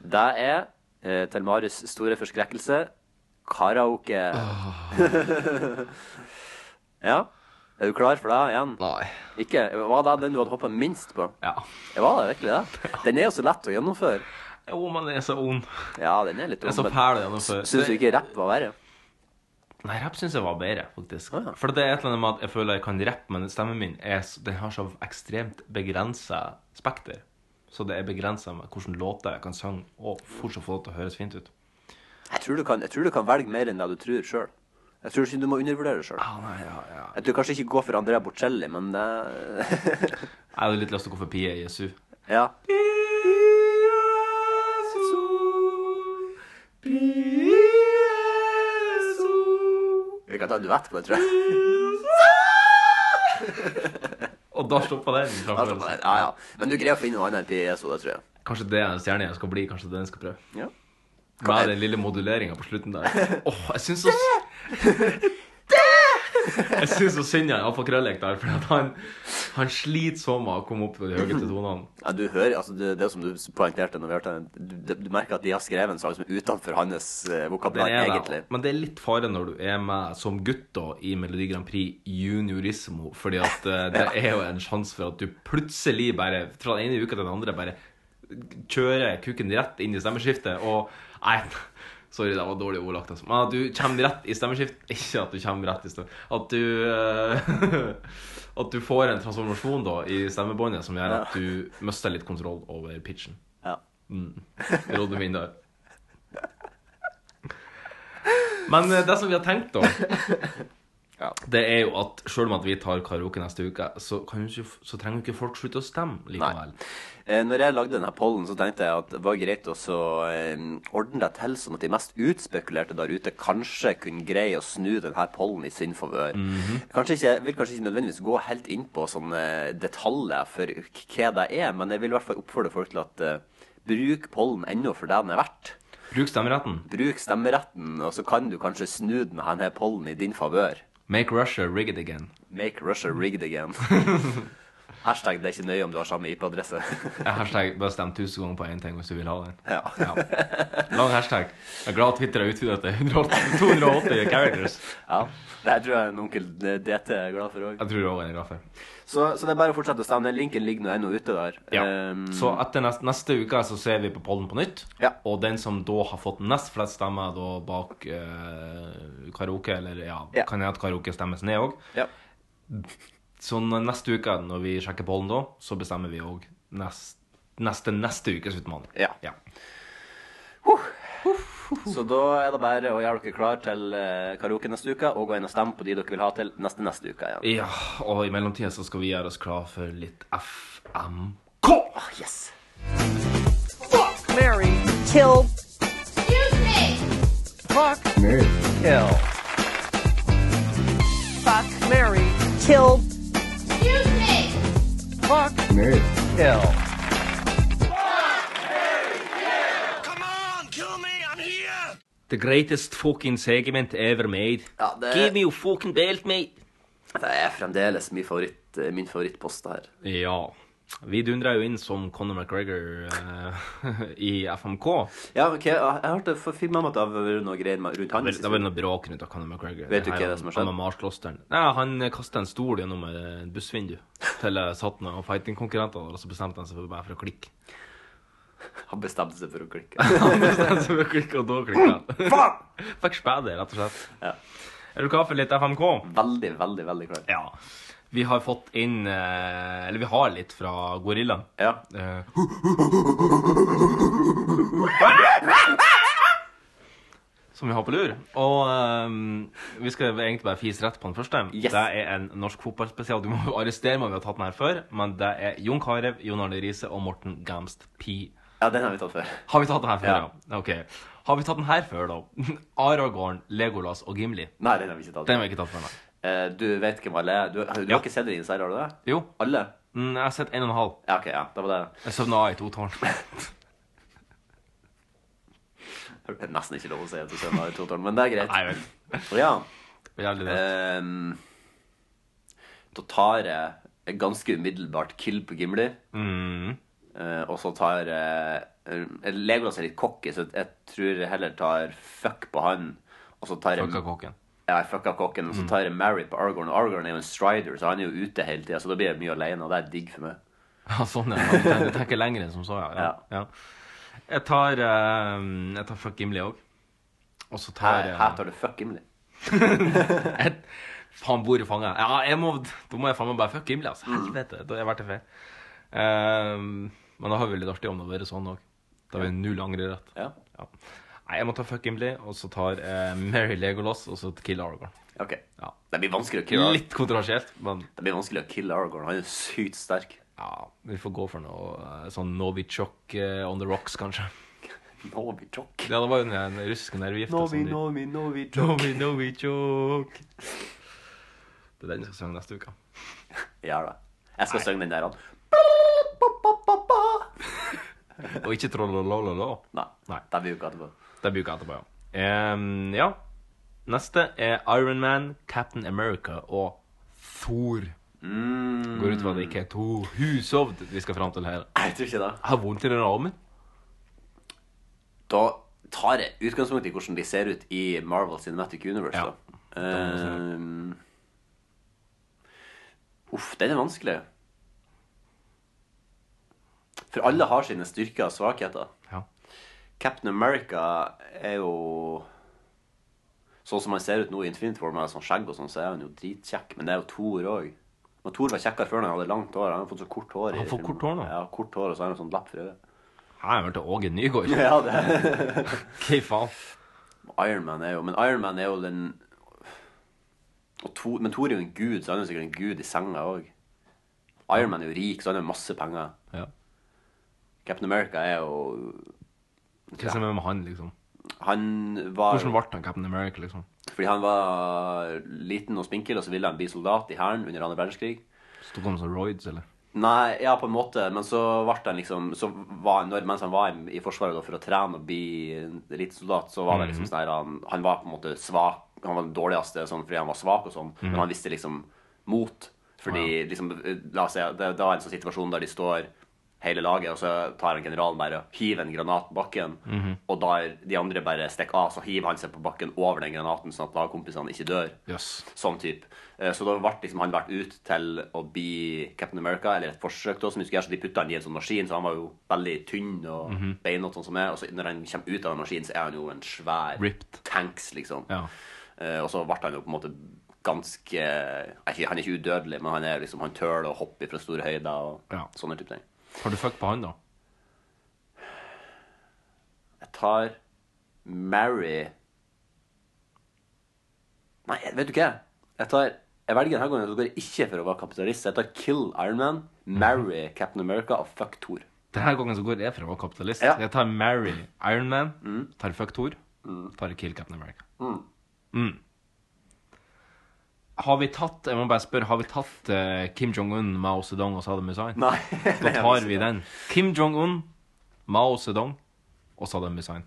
Det er, eh, til Marius store forskrekkelse, karaoke. Ah. ja. Er du klar for det igjen?
Nei.
Ikke? Var det den du hadde hoppa minst på?
Ja.
Var det virkelig det? Den er jo så lett å gjennomføre.
Jo, men den er så ond.
Ja, den er litt
Den er så
ond.
fæl å gjennomføre.
Syns du ikke rapp var verre?
Nei, rapp syns jeg var bedre, faktisk. For det er et eller annet med at jeg føler jeg kan rappe, men stemmen min er, s- den har så ekstremt begrensa spekter. Så det er begrensa med hvilke låter jeg kan synge, og fortsatt få det til å høres fint ut.
Jeg tror du kan, jeg tror du kan velge mer enn det du tror sjøl. Jeg tror ikke du må undervurdere det sjøl.
Ah.
Jeg tror kanskje ikke gå for Andrea Bocelli, men det
Jeg hadde litt lyst til å gå for Pia Jesu.
Ja. Vi kan ta en duett på det, tror jeg.
Og da stoppa
Da
den.
stopper Altså, det. Ja, ja. Men du greier å finne noe annet enn PSO, det tror jeg.
Kanskje det er en stjerne jeg skal bli. Kanskje det er den jeg skal prøve.
Ja.
Med den lille moduleringa på slutten der. Åh, jeg syns så Jeg syns så synd han Alfa Krøllek der, for at han, han sliter så med å komme opp på de høyeste tonene.
Ja, du hører, altså det, det som du poengterte når vi hørte den, du, du- du merker at de har skrevet en sang som er utenfor hans eh,
Det
vokabular,
er det.
egentlig.
Men det er litt fare når du er med som gutt da, i Melodi Grand Prix juniorismo, fordi at eh, det er jo en sjanse for at du plutselig bare, fra den ene uka til den andre, bare kjører kukken rett inn i stemmeskiftet, og nei, sorry, det var dårlig ordlagt, altså. Men at du kommer rett i stemmeskift, ikke at du kommer rett i stemmeskift, at du... eh, At du får en transformasjon da i stemmebåndet som gjør at du mister litt kontroll over pitchen.
Ja.
Mm. Rådet min der. Men eh, det som vi har tenkt, da Det er jo at selv om at vi tar karaoke neste uke, så, kan jo ikke, så trenger jo ikke folk slutte å stemme likevel.
Eh, Når jeg lagde denne pollen, så tenkte jeg at det var greit å så, eh, ordne deg til sånn at de mest utspekulerte der ute kanskje kunne greie å snu denne pollen i sin favør.
Mhm.
Kanskje ikke, jeg vil kanskje ikke nødvendigvis gå helt inn på sånne detaljer for k- hva det er, men jeg vil i hvert fall oppfordre folk til at eh, bruk pollen ennå for det den er verdt.
Bruk stemmeretten.
Bruk stemmeretten, og så kan du kanskje snu denne pollen i din favør.
Make Russia rig it again.
Make Russia rigged again. Hashtag det er ikke nøye om du har samme IP-adresse.
Hashtag bare stem 1000 ganger på én ting hvis du vil ha den.
Ja.
Lang hashtag. Jeg er glad at Twitter har utvidet til 180 280 characters.
Ja, det her tror jeg en onkel DT er glad for òg.
Jeg tror også han er glad for.
Så, så det er bare å fortsette å stemme. Den linken ligger nå ennå ute der.
Ja.
Um,
Så etter neste, neste uke så ser vi på pollen på nytt. Og den som da har fått nest flest stemmer da bak eh, karaoke, eller ja,
Ja.
kan jeg at karaoke stemmes ned òg.
Ja.
Så n- neste uke, når vi sjekker pollen da, så bestemmer vi òg nest, neste neste ukes utfordring.
Ja. Eh, så da er det bare å gjøre dere klar til eh, karaoke neste uke, og gå inn og stemme på de dere vil ha til neste neste uke igjen.
Ja, og i mellomtida så skal vi gjøre oss klar for litt FMK.
Yes.
Fuck, Mary, kill. Excuse me. Fuck,
Kill.
fuck, Mary, kill. Excuse me. Fuck,
Kill.
The greatest fucking segment ever made.
Ja, det-
Give me your fucking belt, mate.
Det er fremdeles min, favoritt, eh, min favorittpost her.
Ja. Vi dundra jo inn som Conor McGregor eh, i FMK.
Ja, ok, jeg jeg hørte for fint meg at det har vært noe greier med- rundt han.
Det var vel noe bråk rundt av Conor McGregor.
Vet du
her
hva det
han-
som har skjedd?
Han, Mars-klosteren. Nei, han kasta en stol gjennom et bussvindu til eh, satt noen fighting-konkurrenter der, og så bestemte han seg for bare for å klikke.
Han bestemte seg for å klikke.
han bestemte seg for å klikke, og da klikka han. Fikk spædet, rett og slett. Er du klar for litt FMK?
Veldig, veldig, veldig klar.
Ja. Vi har fått inn eh, Eller vi har litt fra gorillaen.
Ja.
Eh, som vi har på lur. Og ehm, vi skal egentlig bare fise rett på den første. Det er en norsk fotballspesial. Du må jo arrestere meg om vi har tatt den her før, men det er Jon Carew, Jon Arne Riise og Morten Gamst P.
Ja, den har vi tatt før.
Har vi tatt den her før,
Ja.
ja? Ok. Har vi tatt den her før, da? Aragorn, Legolas og Gimli.
Nei, den har vi ikke tatt.
Den har vi ikke tatt før, nei.
Eh, du vet hvem alle er? Du, du har ikke sett Inside, har du det?
Jo.
Alle?
Mm, jeg har sett en og en halv.
Ja, ok, ja, det var det.
Jeg sovna i to tårn.
Det er nesten ikke lov å si at du sender i totåren, men det er greit. Nei, vel. Ja. Ehm, da tar jeg et ganske umiddelbart kill på Gimli,
Mm.
eh, og så tar jeg eh, Legolas er litt cocky, så jeg tror jeg heller tar fuck på han. Og så tar jeg
Fucka kokken.
Ja, jeg fucka kokken, og så tar jeg Mary på Argon. Og Argon er jo en strider, så han er jo ute hele tida, så da blir jeg mye alene, og det er digg for meg.
Ja, sånn, ja. Du tenker- Du tenker lenger enn som så, ja. ja. ja. Jeg tar eh, Jeg tar fuck Gimli òg. Og så tar jeg
Her tar du fuck Gimli.
jeg, Faen, hvor fanger jeg? Ja, jeg må, da må jeg faen meg bare fuck Gimli, altså. Helvete. Da har jeg vært til feil. Ehm, men da har vi litt artig om det har vært sånn òg. Da har vi null angrerett.
Ja.
Nei, jeg må ta fuck Gimli, og så tar jeg Mary Legolas, og så kill Aragorn.
Ok.
Ja.
Det blir vanskelig å kille Aragorn.
Litt kontroversielt, men
Det blir vanskelig å kille Aragorn. Han er jo sykt sterk.
Ja, vi får gå for noe eh, sånn Novichok eh, on the rocks, kanskje.
Novichok?
Ja, det var jo den, den russiske nervegifta.
Novi, Novi, Novichok.
Novi, Novichok. Det er den vi skal synge neste uke.
Ja da. Jeg skal synge den der. han.
Og ikke trollolololo.
Nei.
Nei.
Det blir uka etterpå.
Det er uka etterpå, ja. Em, ja. Neste er Iron Man, Captain America og Thor. Går ut fra at det ikke er to husovd vi skal fram til her.
Jeg tror ikke det.
Jeg har vondt i den armen.
Da tar jeg utgangspunkt i hvordan de ser ut i Marvel Cinematic Universe. da. Ehm, Uff, den er vanskelig. For alle har sine styrker og svakheter.
Ja.
Captain America er jo Sånn som han ser ut nå i Infinity War, med sånn skjegg og sånn, så er han jo dritkjekk. Men det er jo Thor òg. Men Thor var kjekkere før når han hadde langt hår. Han har fått så kort hår. i
Han får
filmen.
kort hår nå.
Ja, kort hår, og så har han sånn lepp for øyet.
Her er vel til Åge Nygaard.
Ja, det.
Hva faen?
Iron Man er jo Men Iron Man er jo den Og Thor- men Thor er jo en gud, så han er jo sikkert en gud i senga òg. Ironman er jo rik, så han har masse penger.
Ja.
Captain America er jo
Hva som er med han, liksom?
Han var
Hvordan ble han Captain America, liksom?
Fordi han var liten og spinkel, og så ville han bli soldat i hæren under andre verdenskrig.
Stod han som roids, eller?
Nei, ja, på en måte, men så ble han liksom så var han, når, Mens han var i, i Forsvaret da, for å trene og bli elitesoldat, så var det liksom
Mhm.
sånn her han, han var på en måte svak. Han var den dårligste sånn, fordi han var svak og sånn,
Mhm.
men han visste liksom mot. Fordi liksom, la oss si, det, det var en sånn situasjon der de står hele laget, og så tar han generalen bare og hiver en granat på bakken.
Mhm.
Og da er de andre bare stikker av, så hiver han seg på bakken over den granaten, sånn at lagkompisene ikke dør.
Yes.
Sånn type. Eh, Så da ble liksom han vært ut til å bli Captain America, eller et forsøk da, som de skulle gjøre, så de putta han i en sånn maskin, så han var jo veldig tynn og
Mhm.
beinete sånn som er, og så når han kommer ut av den maskinen, så er han jo en svær tanks, liksom. Eh, Og så ble han jo på en måte ganske er ikke- Han er ikke udødelig, men han er liksom, han tør å hoppe fra store høyder og sånne type ting.
Har du fuck på han, da?
Jeg tar Mary Nei, jeg- vet du hva? Jeg tar jeg velger denne gangen at jeg går ikke for å være kapitalist. Jeg tar Kill Iron Man, Marry Captain America og Fuck Thor.
Denne gangen så går jeg for å være kapitalist. Jeg tar Mary Iron Man, tar Fuck Thor, tar Kill Captain America.
Mm.
Mm. Har vi tatt jeg må bare spørre, har vi tatt eh, Kim Jong-un, Mao Zedong og Saddam Hussein?
Nei.
Da tar vi den. Kim Jong-un, Mao Zedong og Saddam Hussein.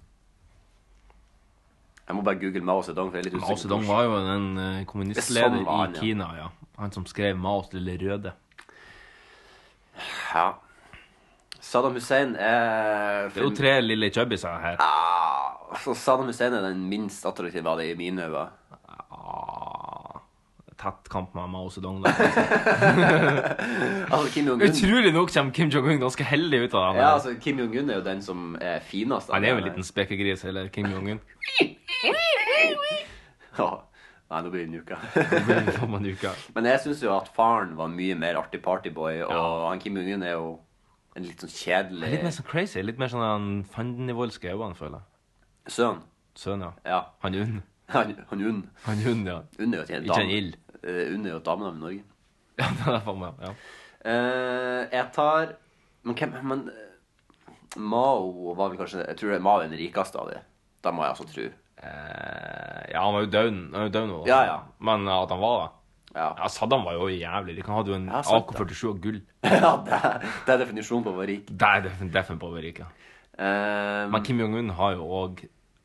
Jeg må bare google Mao Zedong. For jeg er litt usikker
Mao
på
Zedong
hvordan-
var jo en eh, kommunistleder
Det er sånn var han,
i
ja.
Kina, ja. Han som skrev Maos lille røde.
Ja. Saddam Hussein er
Det er jo tre lille chubbiser her.
Ja, altså, Saddam Hussein er den minst attraktive av det i mine øyne.
Ah, Tett kamp med Mao Zedong, da.
altså, Kim Jong-un
Utrolig nok kommer Kim Jong-un ganske heldig ut av det.
Ja, altså, Kim Jong-un er jo den som er finest. av
han er jo en
dem her.
liten spekegris, eller Kim Jong-un.
Ja. Nei, nå blir det nuka.
Om en uke.
Men jeg syns jo at faren var mye mer artig partyboy, og han Kim Jong-un er jo en litt sånn
Han er Litt mer
kjedelig
sånn crazy. Litt mer sånn han fandenivoldske øyne, føler jeg.
sønn.
Sønn, ja.
Ja.
Han Unn.
Han, han Unn.
Han Unn, ja.
Unn er jo et
Ikke en ild.
Eh, Unn er jo et damenavn i Norge.
Ja, det er faen meg, ja.
Eh, jeg tar Men hvem men, eh, Mao var vel kanskje Jeg tror det er Mao er den rikeste av de. Det må jeg altså tro.
Eh, ja, han var jo død han er jo død nå, da.
Ja, ja.
Men eh, at han var det.
Ja.
Saddam var jo jævlig rik. Han hadde jo en
Ja, sant, ja.
AK-47 av gull.
ja, det, er- det er definisjonen på å være rik.
Det er defin- defin på å være rik, ja.
Eh,
Men Kim Jong-un har jo òg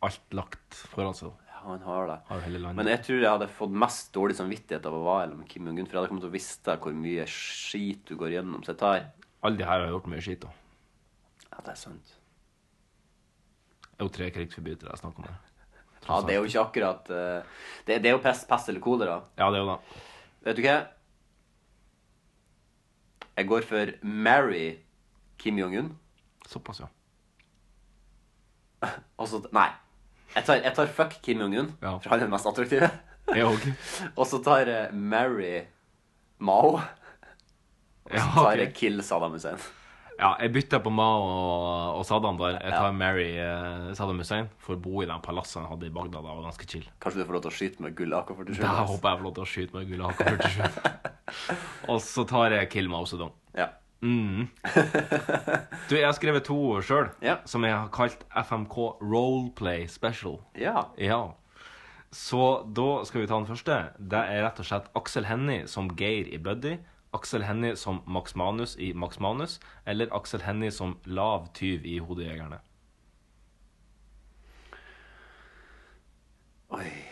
alt lagt foran seg.
Ja, han har det.
Har jo hele landet.
Men jeg tror jeg hadde fått mest dårlig samvittighet av å være sammen med Kim Jong-un, for jeg hadde kommet til å visst hvor mye skit du går gjennom. Så jeg tar
Alle de her har gjort mye skit, da.
Ja, det er sant.
Det er jo tre krigsforbrytere jeg snakker om. her.
Ja, det er jo ikke akkurat eh, det, det er jo pest, pest eller kolera.
Ja, det er jo det.
Vet du hva? Jeg går for Marry Kim Jong-un.
Såpass, ja.
Altså Nei. Jeg tar, jeg tar fuck Kim Jong-un, for han er den mest attraktive.
Jeg òg.
Og så tar jeg Marry Mao. Og så tar jeg Kill Saddam Hussein.
Ja, jeg bytta på Mao og, og Saddam der. Jeg tar Mary eh, Saddam Hussein for å bo i den palasset han hadde i Bagdad. Det var ganske chill.
Kanskje du får lov til å skyte med gull AK-47?
Der håper jeg får lov til å skyte med gull AK-47. og så tar jeg Kill Mao Zedong.
Ja.
Mm. Du, jeg har skrevet to sjøl, som jeg har kalt FMK Roleplay Special.
Ja.
Så da skal vi ta den første. Det er rett og slett Aksel Hennie som Geir i Buddy. Aksel Hennie som Max Manus i Max Manus. Eller Aksel Hennie som lav tyv i Hodejegerne.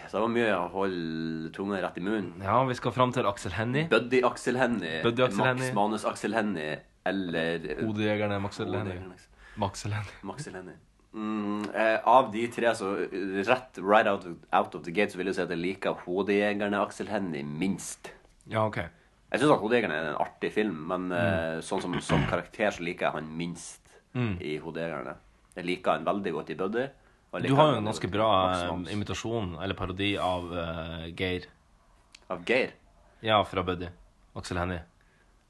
Så det var mye å holde tunga rett i munnen.
Ja, vi skal fram til Aksel Hennie.
Buddy Aksel Hennie,
Buddy Aksel
Max
Hennie.
Manus Aksel Hennie eller eh,
Hodejegerne Max Hennie. Max Hennie.
Maxel Hennie. Mm, eh, av de tre, så eh, rett right out of, out of the gate, så vil jeg si at jeg liker Hodejegerne Aksel Hennie minst.
Ja, OK.
Jeg syns Hodejegerne er en artig film, men eh, sånn som, som karakter så liker jeg han minst
Mm.
i Hodejegerne. Jeg liker han veldig godt i Buddy. og jeg
Du
liker
har
han
jo en
veldig
ganske
godt i
bra
Max
eh,
Manus.
imitasjon, eller parodi, av eh, Geir.
Av Geir?
Ja, fra Buddy. Aksel Hennie.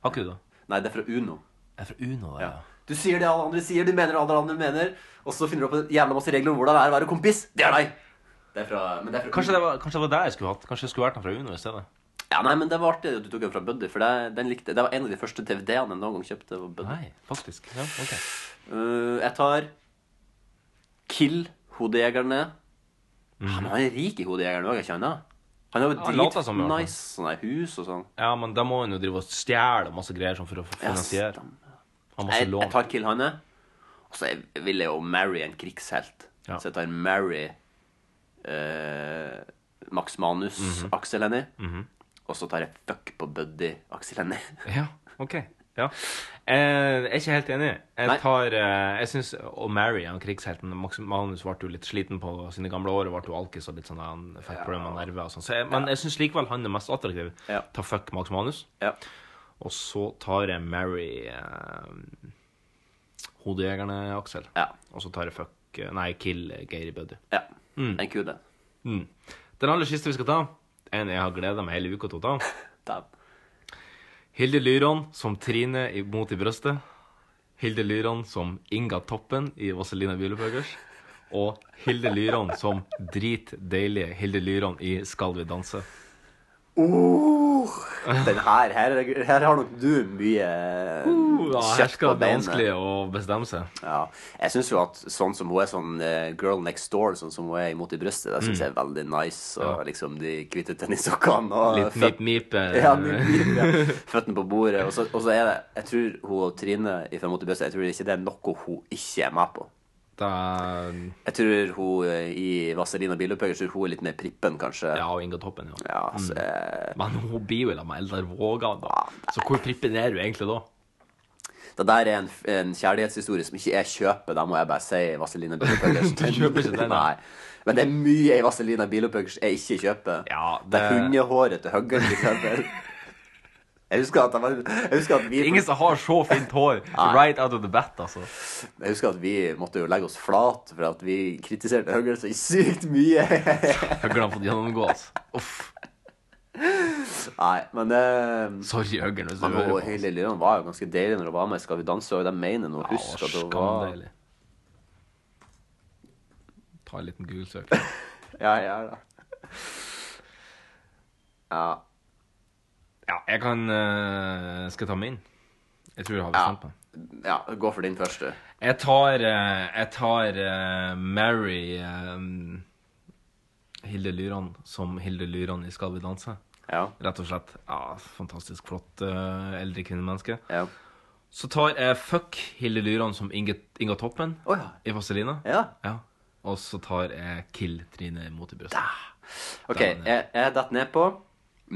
Har ikke du det?
Nei, det er fra Uno.
Det er fra Uno, det, ja.
Du sier det alle andre sier, du mener det alle andre mener, og så finner du opp en jævla masse regler om hvordan det er å være kompis. Det er deg! Det er fra, men det er fra
Kanskje det, var, kanskje det var der jeg skulle hatt? Kanskje jeg skulle vært han fra Uno i stedet?
Ja, nei, men Det var artig at du tok den fra Buddy, for det, den likte, det var en av de første DVD-ene jeg noen gang kjøpte. Var Buddy.
Nei, faktisk. Ja, ok.
Uh, jeg tar Kill hodejegerne. Ah, men han er rik i hodejegeren òg, ikke sant? da? Han har jo
Mhm. Han låter som i hvert fall.
dritnice sånne hus og sånn.
Ja, men da må han jo drive og stjele masse greier sånn for å finansiere. Han må
Jeg,
ikke
jeg
låne.
tar Kill Hanne. Og så jeg- vil jeg jo marry en krigshelt. Så jeg tar Marry eh, Max Manus
Mhm.
Aksel Hennie.
Mhm.
Og så tar jeg Fuck på Buddy Aksel Hennie.
Ja, OK. Ja. Eh, Jeg er ikke helt enig. Jeg tar eh, Jeg syns å marry han krigshelten Max Manus ble jo litt sliten på sine gamle år og ble jo alkis og litt sånn han fikk problemer med nerver og sånn. Så jeg, men jeg syns likevel han er mest attraktiv. Ta fuck Max Manus. Og så tar jeg marry eh, hodejegerne Aksel. Og så tar jeg fuck eh, Nei, kill Geir i Buddy.
Ja. En kul den.
Mm. Den aller siste vi skal ta, en jeg har gleda meg hele uka til å
ta.
Hilde Lyron som Trine i- mot i brøstet. Hilde Lyron som Inga Toppen i Vazelina Bieleføgers. Og Hilde Lyron som dritdeilige Hilde Lyron i Skal vi danse.
Oh, den her, her, her har nok du mye
Uh, ja, her
kjøtt
skal
på
det være
beinet.
vanskelig å bestemme seg.
Ja, jeg syns jo at sånn som hun er sånn eh, girl next door, sånn som hun er imot i brystet, det syns
Mm.
jeg er veldig nice. Og liksom de hvite tennissokkene og
Litt
føt-
mip-mip, eh.
Ja, mip-mip. Ja. Føttene på bordet. Og så, og så er det Jeg tror hun og Trine fra Mot i brystet, jeg tror ikke det er noe hun ikke er med på.
Da
Jeg tror hun eh, i Vazelina Bilopphøger, tror hun er litt mer prippen, kanskje.
Ja, Mm. og Inga Toppen, ja. Ah,
så, eh,
Men hun blir jo sammen med Eldar Vågan, da. Så hvor prippen er du egentlig da?
Det der er en, en kjærlighetshistorie som ikke jeg kjøper. Da må jeg bare si Vazelina Bilopphøggers.
Du kjøper ikke den, nei.
Nei. Men det er mye i Vazelina Bilopphøggers jeg ikke kjøper. det... er hundehåret til Høggen, for eksempel. Jeg husker at, jeg var, jeg husker at vi
Ingen som har så fint hår right out of the bat, altså.
Jeg husker at vi måtte jo legge oss flat for at vi kritiserte Høggen så sykt mye.
Høggen har fått gjennomgå, altså.
Nei, men eh,
Sorry, Høggen, hvis du
men
hører
hun
på.
Hilde Lyran var jo ganske deilig når hun var med i Skal vi danse, og jeg mener nå, husk at hun var
Skamdeilig. Ta en liten Google-søk.
Ja, jeg er det. Ja.
Ja, jeg kan eh, Skal jeg ta min? Jeg tror jeg har bestemt meg.
Ja, gå for din første.
Jeg tar, eh, jeg tar eh, Mary eh, Hilde Lyran som Hilde Lyran i Skal vi danse. Rett og slett. Ja, fantastisk flott eh, eldre kvinnemenneske. Så tar jeg Fuck Hilde Lyran som Inge, Inga Toppen i Vazelina. Ja. Og så tar jeg Kill Trine mot i brystet.
OK, jeg, jeg detter ned på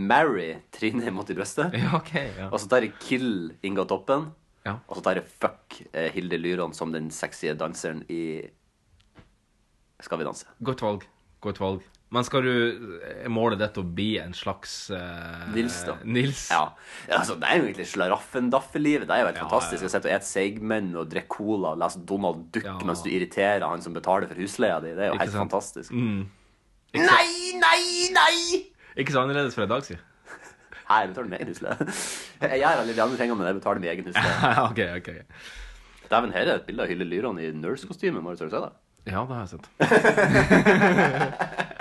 Marry Trine mot i brystet.
Ja, ok, ja.
Og så tar jeg Kill Inga Toppen.
Ja.
Og så tar jeg Fuck eh, Hilde Lyran som den sexy danseren i Skal vi danse.
Godt valg. Godt valg. Men skal du er målet ditt å bli en slags eh,
Nils, da.
Nils?
Ja. Ja, altså, det er jo egentlig slaraffendaffelivet. Det er jo helt fantastisk. Å sitte og ete seigmenn og drikke cola og lese Donald Duck mens du irriterer han som betaler for husleia di. Det er jo helt fantastisk.
Mm.
Nei, nei, nei!
Ikke så annerledes fra i dag, si.
Nei, jeg betaler min egen husleie. Jeg gjør alle de andre tingene, men jeg betaler min egen husleie.
ok, ok.
Dæven, her er et bilde av Hylle Lyran i nurse-kostyme. Marius, Har du sett det?
Ja, det har jeg sett.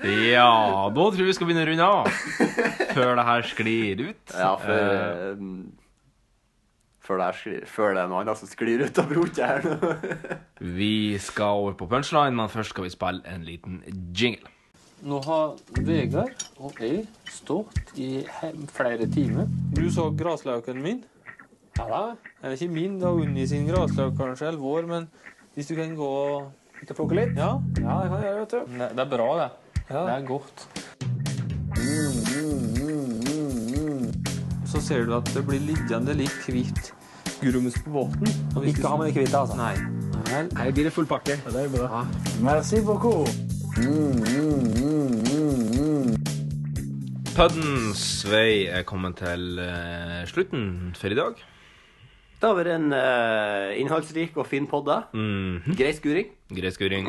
ja, da tror jeg vi skal begynne å runde av. Før det her sklir ut.
Ja, før,
Eh,
eh, før, det, er, skli- før det er noe annet som sklir ut av rotet her nå.
vi skal over på punchline, men først skal vi spille en liten jingle.
Nå har Vegard og jeg stått i hem- flere timer. Du så graslauken min? Ja da. Eller ikke min, da Unni sin graslauk kanskje, eller vår, men hvis du kan gå og Ut og plukke litt? Ja. ja, det kan jeg gjøre, vet du. Det, er bra, det. Det er godt. Så ser du at det blir liggende litt hvitt grums på båten. Ikke ha med det hvite, altså? Nei. Her blir det full pakke. Det er bra. Merci beaucoup.
Puddens vei er kommet til eh, slutten for i dag.
Det har vært en eh, innholdsrik og fin podd, da.
Mm. Mhm.
Grei skuring.
Grei skuring.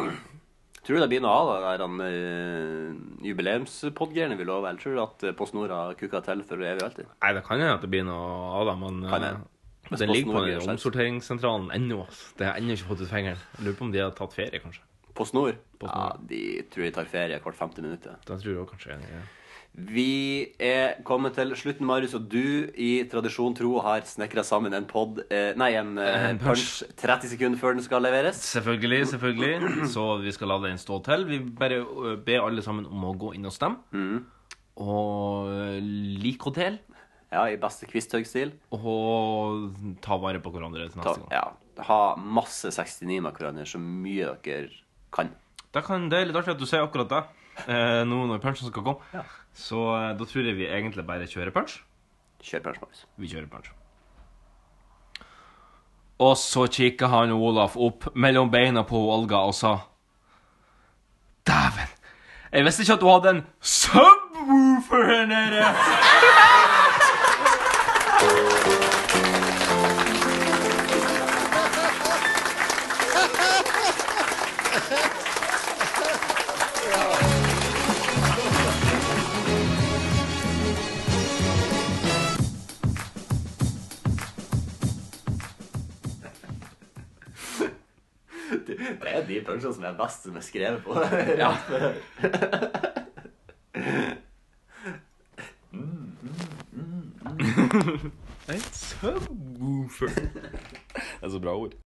Tror du det blir noe av det der han, eh, jubileumspodgreiene vi lover? Eller tror du at eh, Post Nord har kuka til for evig og alltid?
Nei, det kan hende at det blir noe av det, men
Kan
eh,
hende. Men
den
Posten
ligger på
Norge
den
er slett.
omsorteringssentralen ennå. ass. Det har jeg ennå ikke fått ut fingeren. Jeg Lurer på om de har tatt ferie, kanskje.
På snor? Ja, de tror de tar ferie hvert 50 minutter.
Da tror jeg også kanskje ja.
Vi er kommet til slutten, Marius, og du i tradisjon tro har snekra sammen en pod eh, Nei, en, eh,
En
punch
punch.
30 sekunder før den skal leveres.
Selvfølgelig, selvfølgelig. Så vi skal la den stå til. Vi bare ø, ber alle sammen om å gå inn og stemme.
Mm.
Og ø, lik og del.
Ja, i beste Quisthaug-stil.
Og ta vare på hverandre til
Ta,
neste gang.
ja, ha masse 69 med hverandre, så mye dere kan.
Da kan det er litt artig at du sier akkurat det eh, nå når punchen skal komme. Så eh, da tror jeg vi egentlig bare kjører punch.
Kjør punch, Marius.
Vi kjører punch. Og så kikka han Olaf opp mellom beina på Olga og sa Dæven! Jeg visste ikke at du hadde en subwoofer her nede!
Det er de punchene som er best, som er skrevet på.
Ja. En subwoofer. Det er så bra ord.